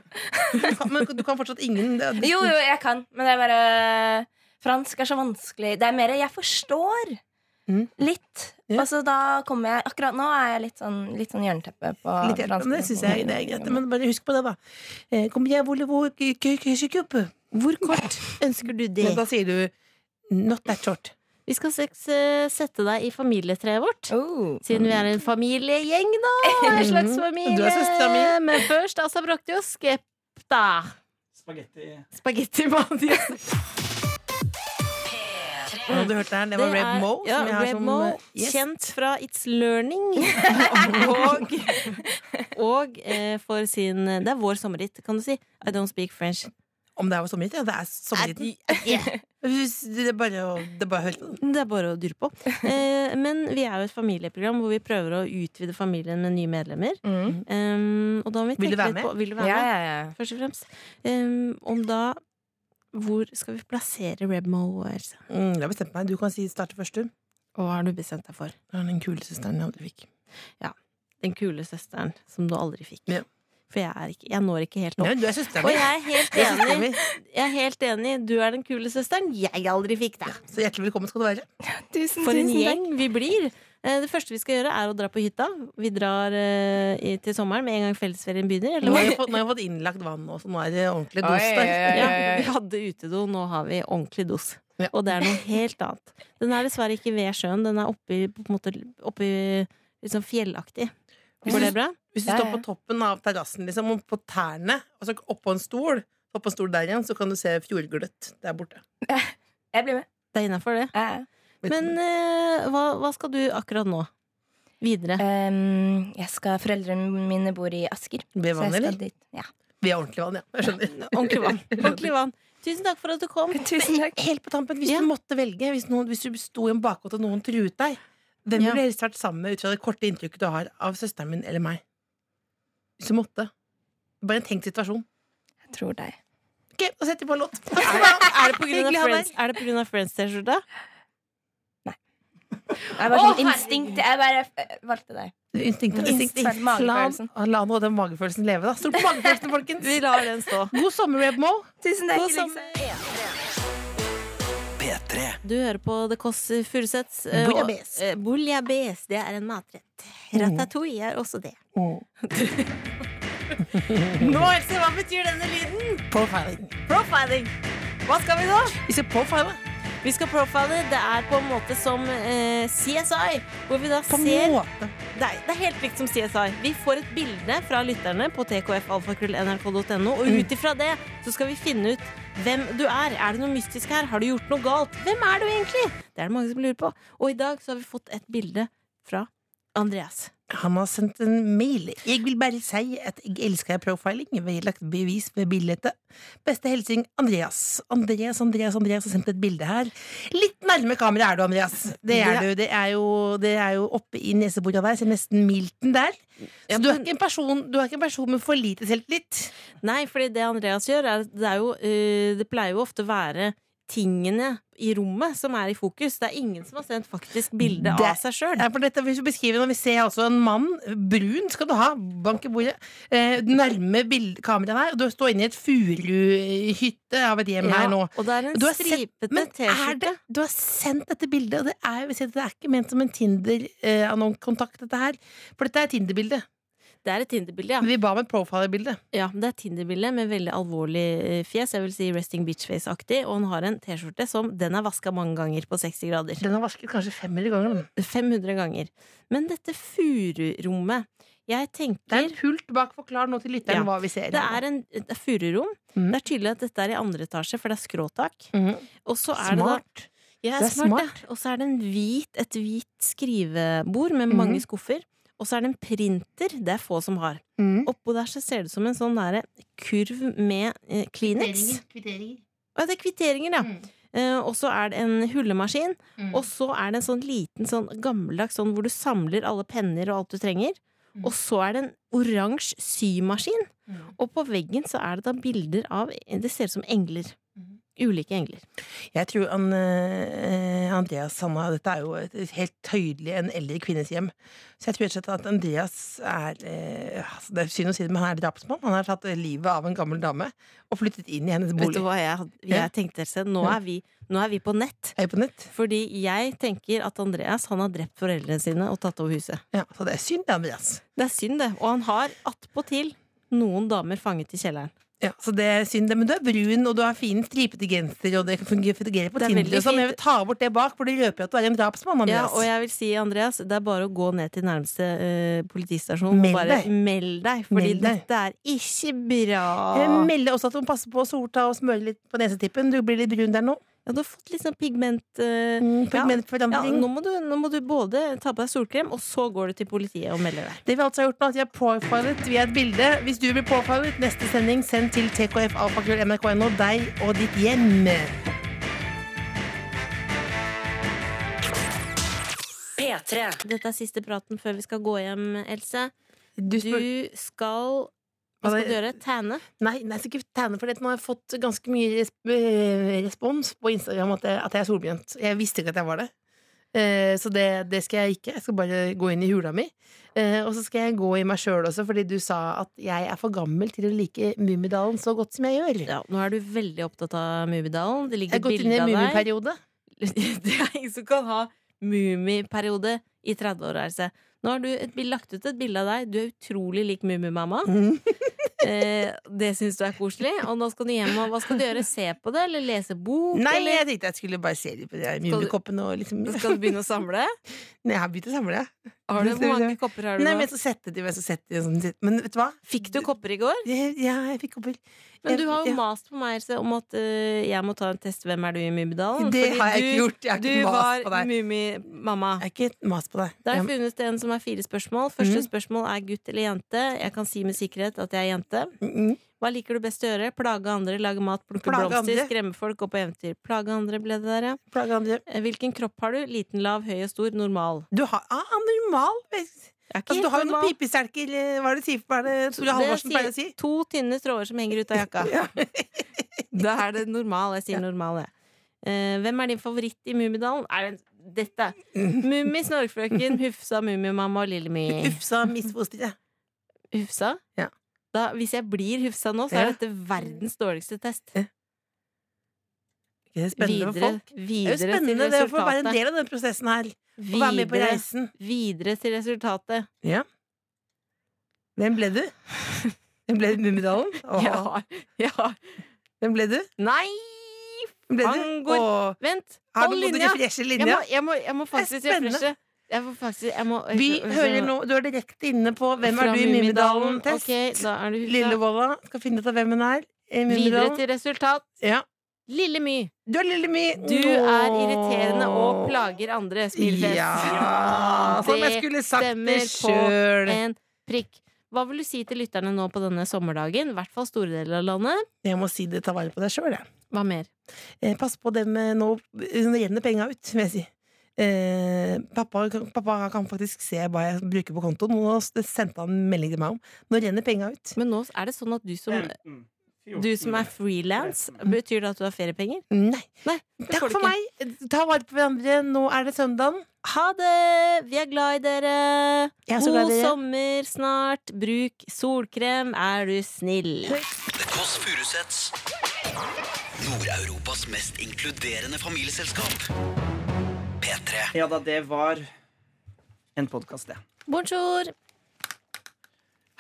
Speaker 4: Du kan- Men du kan fortsatt ingen det- det-
Speaker 7: Jo, jo, jeg kan, men det er bare Fransk er så vanskelig. Det er mer jeg forstår
Speaker 4: Mm.
Speaker 7: litt.
Speaker 4: Ja.
Speaker 7: Og så da kommer jeg Akkurat nå er jeg litt sånn, litt sånn jernteppe på
Speaker 4: Litt hjelp,
Speaker 7: fransk. Mm.
Speaker 4: men det synes jeg det er greit. Men bare husk på det, da. Eh, Kom igjen, Ole, hvor, k- k- k- sjekk opp. hvor kort
Speaker 3: Ønsker du det?
Speaker 4: Men da sier du not that short.
Speaker 3: Vi skal seks, eh, sette deg i familietreet vårt.
Speaker 7: Oh.
Speaker 3: Siden vi er en familiegjeng, da. En slags familie.
Speaker 4: Mm. Du er søstera mi.
Speaker 3: Men først, altså, brakte jo skepta.
Speaker 1: Spagetti
Speaker 3: Spagetti Madius.
Speaker 4: Og du hørte her, det var Reb Mo.
Speaker 3: ja,
Speaker 4: som jeg har
Speaker 3: Reb
Speaker 4: som,
Speaker 3: Mo
Speaker 4: eh, gjest. <laughs>
Speaker 3: Kjent fra It's Learning. og <laughs> og eh, for sin Det er vår sommerhit, kan du si. I don't speak French.
Speaker 4: Om det er sommerhit? Ja, det er <laughs> sommerhiten. Hvis- Det er bare å det er bare å høre på.
Speaker 3: Det er bare å dure på. Eh, men vi er jo et familieprogram hvor vi prøver å utvide familien med nye medlemmer.
Speaker 7: Mm.
Speaker 3: Um, og da må vi
Speaker 4: Vil du
Speaker 3: tenke
Speaker 4: være
Speaker 3: litt
Speaker 4: med?
Speaker 3: på Vil du
Speaker 7: Ja,
Speaker 3: være med?
Speaker 7: ja, ja.
Speaker 3: Først og fremst. Um, om da Hvor skal vi plassere Rebmo, Else?
Speaker 4: Mm, Jeg har bestemt meg. Du kan si starte først, du.
Speaker 3: Og hva har du bestemt deg for?
Speaker 4: Det var Den kule søsteren jeg aldri fikk.
Speaker 3: Den kule søsteren som du aldri fikk.
Speaker 4: Ja.
Speaker 3: For jeg, er ikke, jeg når ikke helt opp.
Speaker 4: Ja, du er søsteren
Speaker 3: Og
Speaker 4: min.
Speaker 3: jeg er helt
Speaker 4: Du er søsteren
Speaker 3: enig.
Speaker 4: min.
Speaker 3: Jeg er helt enig. Du er den kule søsteren jeg aldri fikk. Da.
Speaker 4: Så hjertelig velkommen skal du være.
Speaker 7: Tusen,
Speaker 3: For en
Speaker 7: tusen takk.
Speaker 3: gjeng vi blir. Eh, Det første vi skal gjøre, er å dra på hytta. Vi drar eh, i- til sommeren med en gang fellesferien begynner. Eller
Speaker 4: Nå har
Speaker 3: hva?
Speaker 4: jeg fått, nå har jeg fått innlagt vann nå, så nå er det ordentlig dos
Speaker 7: Oi,
Speaker 4: der.
Speaker 7: oi, oi.
Speaker 3: Ja, vi hadde utedo, nå har vi ordentlig dos.
Speaker 4: Ja.
Speaker 3: Og det er noe helt annet. Den er dessverre ikke ved sjøen, den er oppi, på en måte, oppi litt sånn fjellaktig. Går det bra?
Speaker 4: Hvis du
Speaker 7: Ja,
Speaker 4: står
Speaker 7: ja.
Speaker 4: på toppen av terrassen, liksom, og på tærne, og så oppå en stol, oppå en stol der igjen, så kan du se fjordgløtt der borte.
Speaker 7: Jeg blir med.
Speaker 3: Det er innafor, det.
Speaker 7: Ja, ja.
Speaker 3: Men eh, hva, hva skal du akkurat nå? Videre.
Speaker 7: Ehm, jeg skal, Foreldrene mine bor i Asker.
Speaker 4: Ved
Speaker 7: så jeg
Speaker 4: vann,
Speaker 7: skal
Speaker 4: eller?
Speaker 7: dit. Ja.
Speaker 4: Ved ordentlig vann, ja. Jeg skjønner.
Speaker 3: Ordentlig vann. Ordentlig vann. Tusen takk for at du kom.
Speaker 7: Tusen takk.
Speaker 4: Helt på tampen, hvis
Speaker 3: Ja.
Speaker 4: du måtte velge, hvis, noen, hvis du sto i en bakgård og noen truet deg, hvem
Speaker 3: Ja.
Speaker 4: ville du helst vært sammen med ut fra det korte inntrykket du har av søsteren min eller meg? som måtte. Bare en tenkt situasjon.
Speaker 7: Jeg tror deg.
Speaker 4: Ok, da setter vi på en låt.
Speaker 7: <laughs>
Speaker 3: Er det på grunn
Speaker 4: Hyggelig
Speaker 3: av
Speaker 4: å ha
Speaker 3: Friends- er det på grunn av Friends-T-skjorta?
Speaker 7: Det er bare sånn instinkt. Jeg bare eh, valgte deg.
Speaker 4: deg. Instinktet. Instinkt.
Speaker 7: Instinkt. Magefølelsen.
Speaker 4: La nå den magefølelsen leve, da. Stol på magefølelsen, folkens.
Speaker 3: Vi lar den stå.
Speaker 4: God sommer, Reb Mo.
Speaker 7: Tusen takk.
Speaker 3: God sommer.
Speaker 7: Elise.
Speaker 2: P3
Speaker 3: Du hører på The Kåss Furuseths. eh,
Speaker 4: Bouillabaisse.
Speaker 3: og- eh, Bouillabaisse, det er en matrett. Ratatouille er også det.
Speaker 4: Mm.
Speaker 3: <laughs> Nå, Else, hva betyr denne lyden?
Speaker 4: Profiling.
Speaker 3: Profiling. Hva skal vi nå?
Speaker 4: Vi skal profile.
Speaker 3: Vi skal profile. Det er på en måte som eh, CSI, hvor vi da
Speaker 4: På en
Speaker 3: ser
Speaker 4: måte.
Speaker 3: Det er, det er helt likt som CSI. Vi får et bilde fra lytterne på tkfalfakrøllnrk.no,
Speaker 4: Mm.
Speaker 3: og ut ifra det så skal vi finne ut hvem du er. Er det noe mystisk her? Har du gjort noe galt? Hvem er du egentlig? Det er det mange som lurer på. Og i dag så har vi fått et bilde fra Andreas.
Speaker 4: Han har sendt en mail. Jeg vil bare si at jeg elsker profiling. Vedlagt bevis ved bildet. Beste hilsen Andreas. Andreas, Andreas, Andreas har sendt et bilde her. Litt nærme kamera er du, Andreas. Det er
Speaker 3: Det-
Speaker 4: du. Det er jo, det er jo oppe i nesebora der. Ser nesten milten der.
Speaker 3: Ja,
Speaker 4: Så du er
Speaker 3: men-
Speaker 4: ikke en person, du er ikke en person med for lite selvtillit.
Speaker 3: Nei, fordi det Andreas gjør, er, det, er jo, eh, det pleier jo ofte å være tingene i rommet som er i fokus. Det er ingen som har sendt faktisk bilde
Speaker 4: Det-
Speaker 3: av seg sjøl.
Speaker 4: Ja, for dette vil vi beskrive når vi ser altså en mann, brun skal du ha, bank i bordet, eh, nærme bild- kameraet her, og du står inne i et furuhytte av et hjem her nå.
Speaker 3: og det er en
Speaker 4: Du har sendt-
Speaker 3: stripete
Speaker 4: men er
Speaker 3: T-skjorte.
Speaker 4: det, du har sendt dette bildet, og det er, vi ser at det er ikke ment som en Tinder-kontakt, dette her. For dette er Tinder-bildet.
Speaker 3: Det er et Tinder-bilde, ja.
Speaker 4: Vi ba om et profiler-bilde.
Speaker 3: Ja, det er Tinder-bilde med veldig alvorlig eh, fjes. Jeg vil si resting bitch-face-aktig. Og han har en T-skjorte som den er vaska mange ganger på 60 grader.
Speaker 4: Den har vasket kanskje 500 ganger. den.
Speaker 3: 500 ganger. Men dette fururommet Jeg
Speaker 4: Det er
Speaker 3: tenker
Speaker 4: en pult bak. Forklar nå til lytteren
Speaker 3: Ja.
Speaker 4: hva vi ser.
Speaker 3: det er en det er fururom.
Speaker 4: Mm.
Speaker 3: Det er tydelig at dette er i andre etasje, for det er skråtak.
Speaker 4: Mhm.
Speaker 3: Og så er det da
Speaker 4: Smart.
Speaker 3: Ja,
Speaker 4: Det er
Speaker 3: smart, ja. Og så er det en hvit, et hvit skrivebord med mange
Speaker 4: Mhm.
Speaker 3: skuffer. Og så er det en printer. Det er få som har.
Speaker 4: Mm.
Speaker 3: Oppå der så ser det ut som en sånn derre kurv med eh, Kleenex. Ja, det er kvitteringer, ja.
Speaker 4: Mm.
Speaker 3: Eh, og så er det en hullemaskin.
Speaker 4: Mm.
Speaker 3: Og så er det en sånn liten sånn gammeldags sånn hvor du samler alle penner og alt du trenger.
Speaker 4: Mm.
Speaker 3: Og så er det en oransje symaskin.
Speaker 4: Mm.
Speaker 3: Og på veggen så er det da bilder av Det ser ut som engler.
Speaker 4: Mm.
Speaker 3: Ulike engler.
Speaker 4: Jeg tror han, eh, Andreas Sanna Dette er jo et, et helt tydelig en eldre kvinnes hjem. Så jeg tror rett og slett at Andreas er eh, altså Det er synd å si det, men han er drapsmann. Han har tatt livet av en gammel dame og flyttet inn i hennes
Speaker 3: Vet du
Speaker 4: bolig.
Speaker 3: hva jeg, had- jeg
Speaker 4: Ja.
Speaker 3: tenkte? Else? Nå er, vi, nå er vi på nett.
Speaker 4: Er jeg på nett?
Speaker 3: Fordi jeg tenker at Andreas han har drept foreldrene sine og tatt over huset.
Speaker 4: Ja, så det er synd, det, Andreas.
Speaker 3: Det er synd, det. Og han har attpåtil noen damer fanget i kjelleren.
Speaker 4: Ja, så det er synd det, Men du er brun, og du har fin, stripete genser, og det kan fungere fungerer på
Speaker 3: Det er
Speaker 4: Tinder.
Speaker 3: veldig
Speaker 4: og sånn, men jeg
Speaker 3: fint.
Speaker 4: vil ta bort det bak, for det røper jo at du er en drapsmann.
Speaker 3: Ja,
Speaker 4: Andreas.
Speaker 3: og jeg vil si, Andreas, det er bare å gå ned til nærmeste eh, politistasjon
Speaker 4: Meld
Speaker 3: og bare
Speaker 4: deg.
Speaker 3: meld deg, fordi
Speaker 4: Meld deg.
Speaker 3: dette er ikke bra.
Speaker 4: Jeg melder også at du må passe på å sorte og smøre litt på nesetippen. Du blir litt brun der nå.
Speaker 3: Ja, du har fått litt sånn pigment... eh,
Speaker 4: Mm,
Speaker 3: ja. ja,
Speaker 4: pigmentforandring.
Speaker 3: nå må, du, nå må du både ta på deg solkrem, og så går du til politiet og melder deg.
Speaker 4: Det vi altså har gjort nå, at vi har profilet via et bilde. Hvis du blir profilet, neste sending send til tkfalfakrøll.nrk.no, deg og ditt hjem.
Speaker 5: P3.
Speaker 3: Dette er siste praten før vi skal gå hjem, Else.
Speaker 4: Du
Speaker 3: Du
Speaker 4: spør...
Speaker 3: skal Hva skal du gjøre? Tanne?
Speaker 4: Nei, nei, jeg skal ikke tegne for det. Nå har jeg fått ganske mye res eh, respons på Instagram at jeg, at jeg er solbrent. Jeg visste ikke at jeg var det. Eh, så det, det skal jeg ikke. Jeg skal bare gå inn i hula mi. Eh, og så skal jeg gå i meg sjøl også, fordi du sa at jeg er for gammel til å like Mummidalen så godt som jeg gjør.
Speaker 3: Ja, nå er du veldig opptatt av Mummidalen. Det
Speaker 4: Jeg
Speaker 3: ligger
Speaker 4: har gått inn i
Speaker 3: bilde
Speaker 4: en
Speaker 3: av deg.
Speaker 4: mummiperiode.
Speaker 3: <laughs> Det er ingen som kan ha mummiperiode i 30-åra. Else. Nå har du et, bil- lagt ut et bilde av deg. Du er utrolig lik Mummimamma. Eh, det syns du er koselig. Og nå skal du hjem og hva skal du gjøre? Se på det, eller lese bok?
Speaker 4: Nei,
Speaker 3: eller
Speaker 4: jeg tenkte jeg skulle bare se litt på de der
Speaker 3: du-
Speaker 4: mummikoppene og liksom
Speaker 3: skal du begynne å samle?
Speaker 4: Nei, jeg har begynt å samle.
Speaker 3: Har du, hvor mange kopper har du
Speaker 4: Nei, men
Speaker 3: nå?
Speaker 4: så setter de, men så setter de sånn Men vet du hva?
Speaker 3: Fikk du kopper i går?
Speaker 4: Jeg- Ja, jeg fikk kopper.
Speaker 3: Men du har jo
Speaker 4: ja.
Speaker 3: mast på meg Else, om at eh, jeg må ta en test 'Hvem er du?' i Mummidalen.
Speaker 4: Det
Speaker 3: fordi
Speaker 4: har jeg ikke
Speaker 3: du-
Speaker 4: gjort. Jeg har
Speaker 3: Du
Speaker 4: ikke mast
Speaker 3: var
Speaker 4: på deg.
Speaker 3: Mummimamma.
Speaker 4: Jeg har ikke mast på deg.
Speaker 3: Der har
Speaker 4: Jeg-
Speaker 3: jeg funnet en som er fire spørsmål. Første
Speaker 4: Mhm.
Speaker 3: spørsmål er gutt eller jente. Jeg kan si med sikkerhet at jeg er jente.
Speaker 4: Mm, mm.
Speaker 3: Hva liker du best å gjøre? Plage andre, lage mat, plukke
Speaker 4: Plage
Speaker 3: blomster,
Speaker 4: andre.
Speaker 3: skremme folk, gå på eventyr. Plage andre, ble det der, ja.
Speaker 4: Plage andre.
Speaker 3: Eh, Hvilken kropp har du? Liten, lav, høy og stor. Normal.
Speaker 4: Du har ah, normal vekst.
Speaker 3: Jeg er ikke
Speaker 4: Altså, du har jo
Speaker 3: helt
Speaker 4: noen
Speaker 3: normal.
Speaker 4: pipesterker Hva er det du sier? Hva er det Tore
Speaker 3: Det
Speaker 4: Halvorsen pleier å si?
Speaker 3: sier to tynne tråder som henger ut av
Speaker 4: <laughs>
Speaker 3: jakka. da er det normal. Jeg sier normal, jeg. Eh, hvem er din favoritt i Mummidalen? Er det
Speaker 4: <laughs>
Speaker 3: dette? Mummi, Snorkfrøken, Hufsa, Mummimamma og Lillemy.
Speaker 4: Ufsa misfosteret.
Speaker 3: Hufsa?
Speaker 4: Ja.
Speaker 3: Da, hvis jeg blir Hufsa nå, så
Speaker 4: Ja.
Speaker 3: er dette verdens dårligste test.
Speaker 4: Det er spennende for
Speaker 3: videre,
Speaker 4: folk. Det er
Speaker 3: videre
Speaker 4: jo spennende
Speaker 3: til
Speaker 4: det å få være en
Speaker 3: resultatet.
Speaker 4: del av den prosessen her. Å være med på
Speaker 3: Videre,
Speaker 4: reisen.
Speaker 3: videre til resultatet.
Speaker 4: Hvem ble du? Hvem ble Mummidalen? Åh,
Speaker 3: Jeg har, jeg har
Speaker 4: Hvem ble du?
Speaker 3: Nei!
Speaker 4: Hvem ble du?
Speaker 3: Angår-
Speaker 4: Åh,
Speaker 3: Vent!
Speaker 4: har du
Speaker 3: Hold
Speaker 4: måttet
Speaker 3: linja!
Speaker 4: refreshe
Speaker 3: Jeg må,
Speaker 4: linja?
Speaker 3: jeg må, jeg må faktisk
Speaker 4: spennende.
Speaker 3: refreshe. Jeg må faktisk jeg må,
Speaker 4: Vi hører nå Du er direkte inne på Hvem er
Speaker 3: Fra
Speaker 4: du i Mummidalen-test.
Speaker 3: Ok, da er du huset.
Speaker 4: Lillevolla skal finne ut av hvem hun er. i
Speaker 3: Videre
Speaker 4: Mummidalen.
Speaker 3: til resultat.
Speaker 4: Ja.
Speaker 3: Lille My,
Speaker 4: Du er Lille My.
Speaker 3: du er irriterende og plager andre. Smilfjes.
Speaker 4: Ja, som jeg skulle sagt det
Speaker 3: stemmer på
Speaker 4: sjøl.
Speaker 3: En prikk. Hva vil du si til lytterne nå på denne sommerdagen? I hvert fall store deler av landet.
Speaker 4: Jeg må si det, ta vare på deg sjøl, jeg.
Speaker 3: Hva mer?
Speaker 4: Eh, Pass på dem eh, nå, nå renner penga ut, vil jeg si. Eh, pappa, pappa kan faktisk se hva jeg bruker på kontoen. Nå s- sendte han melding til meg om Nå renner penga ut.
Speaker 3: Men nå er det sånn at du som,
Speaker 1: 15,
Speaker 3: du som er frilans, betyr det at du har feriepenger?
Speaker 4: Nei.
Speaker 3: Nei, det
Speaker 4: Takk
Speaker 3: får du
Speaker 4: for
Speaker 3: ikke.
Speaker 4: meg. Ta vare på hverandre. Nå er det søndagen.
Speaker 3: Ha det! Vi er glad i dere!
Speaker 4: Jeg er så glad
Speaker 3: God
Speaker 4: i dere.
Speaker 3: sommer snart. Bruk solkrem, er du snill.
Speaker 2: The Kåss Furuseths. Nord-Europas mest inkluderende familieselskap. P3.
Speaker 1: Ja da, det var en podkast, det.
Speaker 3: Bonjour!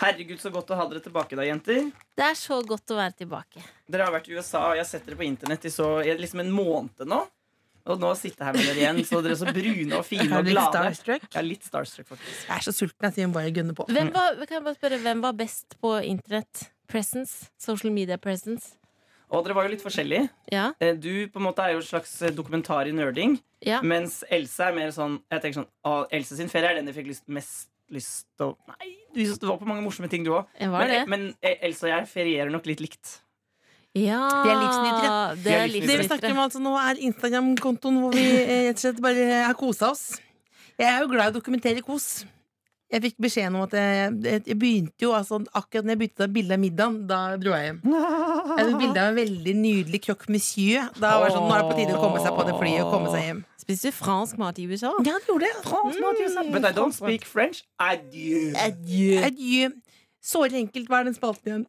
Speaker 1: Herregud, så godt å ha dere tilbake da, jenter.
Speaker 3: Det er så godt å være tilbake.
Speaker 1: Dere har vært i USA, og jeg har sett dere på internett i så, i liksom en måned nå. Og nå sitter jeg her med dere igjen, så dere er så brune og fine og glade.
Speaker 4: starstruck.
Speaker 1: Jeg er litt starstruck, faktisk.
Speaker 4: Jeg er så sulten at jeg må bare gønne på.
Speaker 3: Hvem var, kan jeg bare spørre, hvem var best på internett? Presence? Social media presence?
Speaker 1: Og dere var jo litt forskjellige.
Speaker 3: Ja?
Speaker 1: Eh, Du på en måte er jo et slags eh, dokumentar i nerding,
Speaker 3: ja.
Speaker 1: mens Else er mer sånn Jeg tenker sånn, «Å, Else sin ferie er den jeg fikk lyst, mest lyst til å Nei, du, du var på mange morsomme ting, du òg.
Speaker 3: Jeg var det.
Speaker 1: Men, men Else og jeg ferierer nok litt likt.
Speaker 3: <laughs> Ja!
Speaker 4: Vi er livsnytere.
Speaker 3: Det
Speaker 1: Vi
Speaker 3: er
Speaker 1: er livsnytere.
Speaker 4: Det vi snakker om altså nå er Instagram-kontoen hvor vi eh, rett og slett bare har kosa oss. Jeg er jo glad i å dokumentere kos. Jeg fikk beskjeden om at jeg, jeg, jeg begynte jo altså, akkurat når jeg begynte å ta bilde av middagen, da dro jeg hjem. Jeg hadde Altså, et bilde av en veldig nydelig croque monsieur. Da var det sånn, nå er det på tide å komme seg på det flyet og komme seg hjem.
Speaker 3: Spiser du fransk mat i USA?
Speaker 4: Ja, det gjorde jeg.
Speaker 1: But I don't speak French. Adieu.
Speaker 3: Adjø.
Speaker 4: Adjø. Såre enkelt. Hva er den spalten igjen?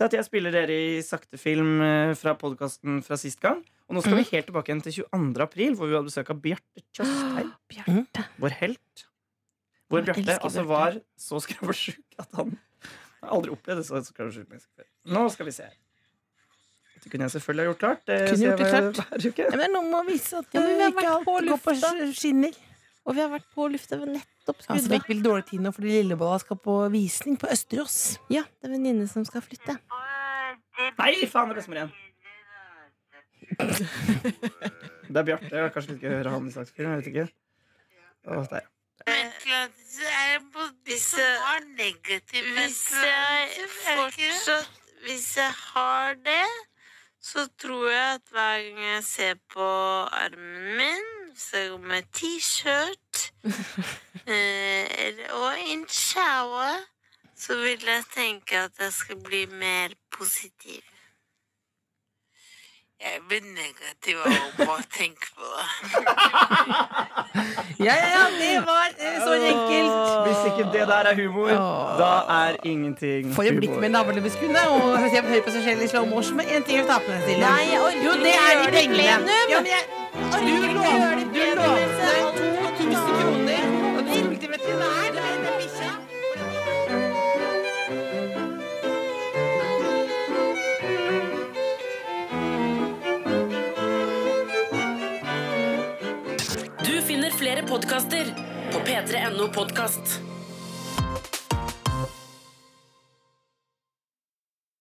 Speaker 1: Det er at jeg spiller dere i sakte film eh, fra podkasten fra sist gang. Og nå skal
Speaker 4: Mhm.
Speaker 1: vi helt tilbake igjen til 22. april, hvor vi hadde besøk av Bjarte
Speaker 4: <gasps>
Speaker 1: Tjøstheim.
Speaker 4: Bjarte.
Speaker 1: Vår helt. Hvor
Speaker 3: Jeg
Speaker 1: Bjarte
Speaker 3: elsker
Speaker 1: altså
Speaker 3: Bjarte.
Speaker 1: var så skravlesjuk at han Jeg har aldri opplevd det så skravlesjuk menneske før. Nå skal vi se her. Det kunne jeg selvfølgelig ha gjort klart. Det
Speaker 4: Kunne
Speaker 1: ser
Speaker 4: gjort det
Speaker 1: jeg
Speaker 4: klart.
Speaker 1: hver uke.
Speaker 4: Ja, men det er noe med å vise at
Speaker 3: Ja, men vi
Speaker 4: eh,
Speaker 3: har vært
Speaker 4: ikke alt
Speaker 3: på
Speaker 4: går på
Speaker 3: lufta.
Speaker 4: sk- skinner.
Speaker 3: Og vi har vært på lufta ved nettopp
Speaker 4: Ja, så
Speaker 3: skuddet.
Speaker 4: fikk vi dårlig tid nå fordi Lillebolla skal på visning på Østerås.
Speaker 3: Ja, det er venninne som skal flytte.
Speaker 1: Nei, faen, det
Speaker 4: <laughs>
Speaker 1: bestemmer igjen. Det er Bjarte. Jeg har kanskje litt gøy å høre han i sakte film. Jeg vet ikke. Å, der.
Speaker 8: Hvis jeg, hvis jeg fortsatt Hvis jeg har det, så tror jeg at hver gang jeg ser på armen min, hvis jeg går med T-skjørt eh, og en shower, så vil jeg tenke at jeg skal bli mer positiv. Jeg blir negativ av å bare tenke på det.
Speaker 4: Ja, ja, ja, det var eh, så enkelt!
Speaker 1: Hvis ikke det der er humor,
Speaker 4: Åh.
Speaker 1: da er ingenting
Speaker 4: Får jo blikk
Speaker 1: humor.
Speaker 4: med navlene ved skuddet og se på høy på seg selv i slow motion med en ting hun tar på seg stille.
Speaker 3: Nei, jeg orker
Speaker 4: jo, det
Speaker 3: ikke
Speaker 4: er
Speaker 3: gjøre
Speaker 4: de
Speaker 3: det i
Speaker 4: pengene.
Speaker 3: plenum.
Speaker 4: Ja, men jeg, du lovte du lovte deg 2000 kroner, og du fulgte med til hver denne bikkja.
Speaker 5: Du finner flere podkaster på p3.no podkast.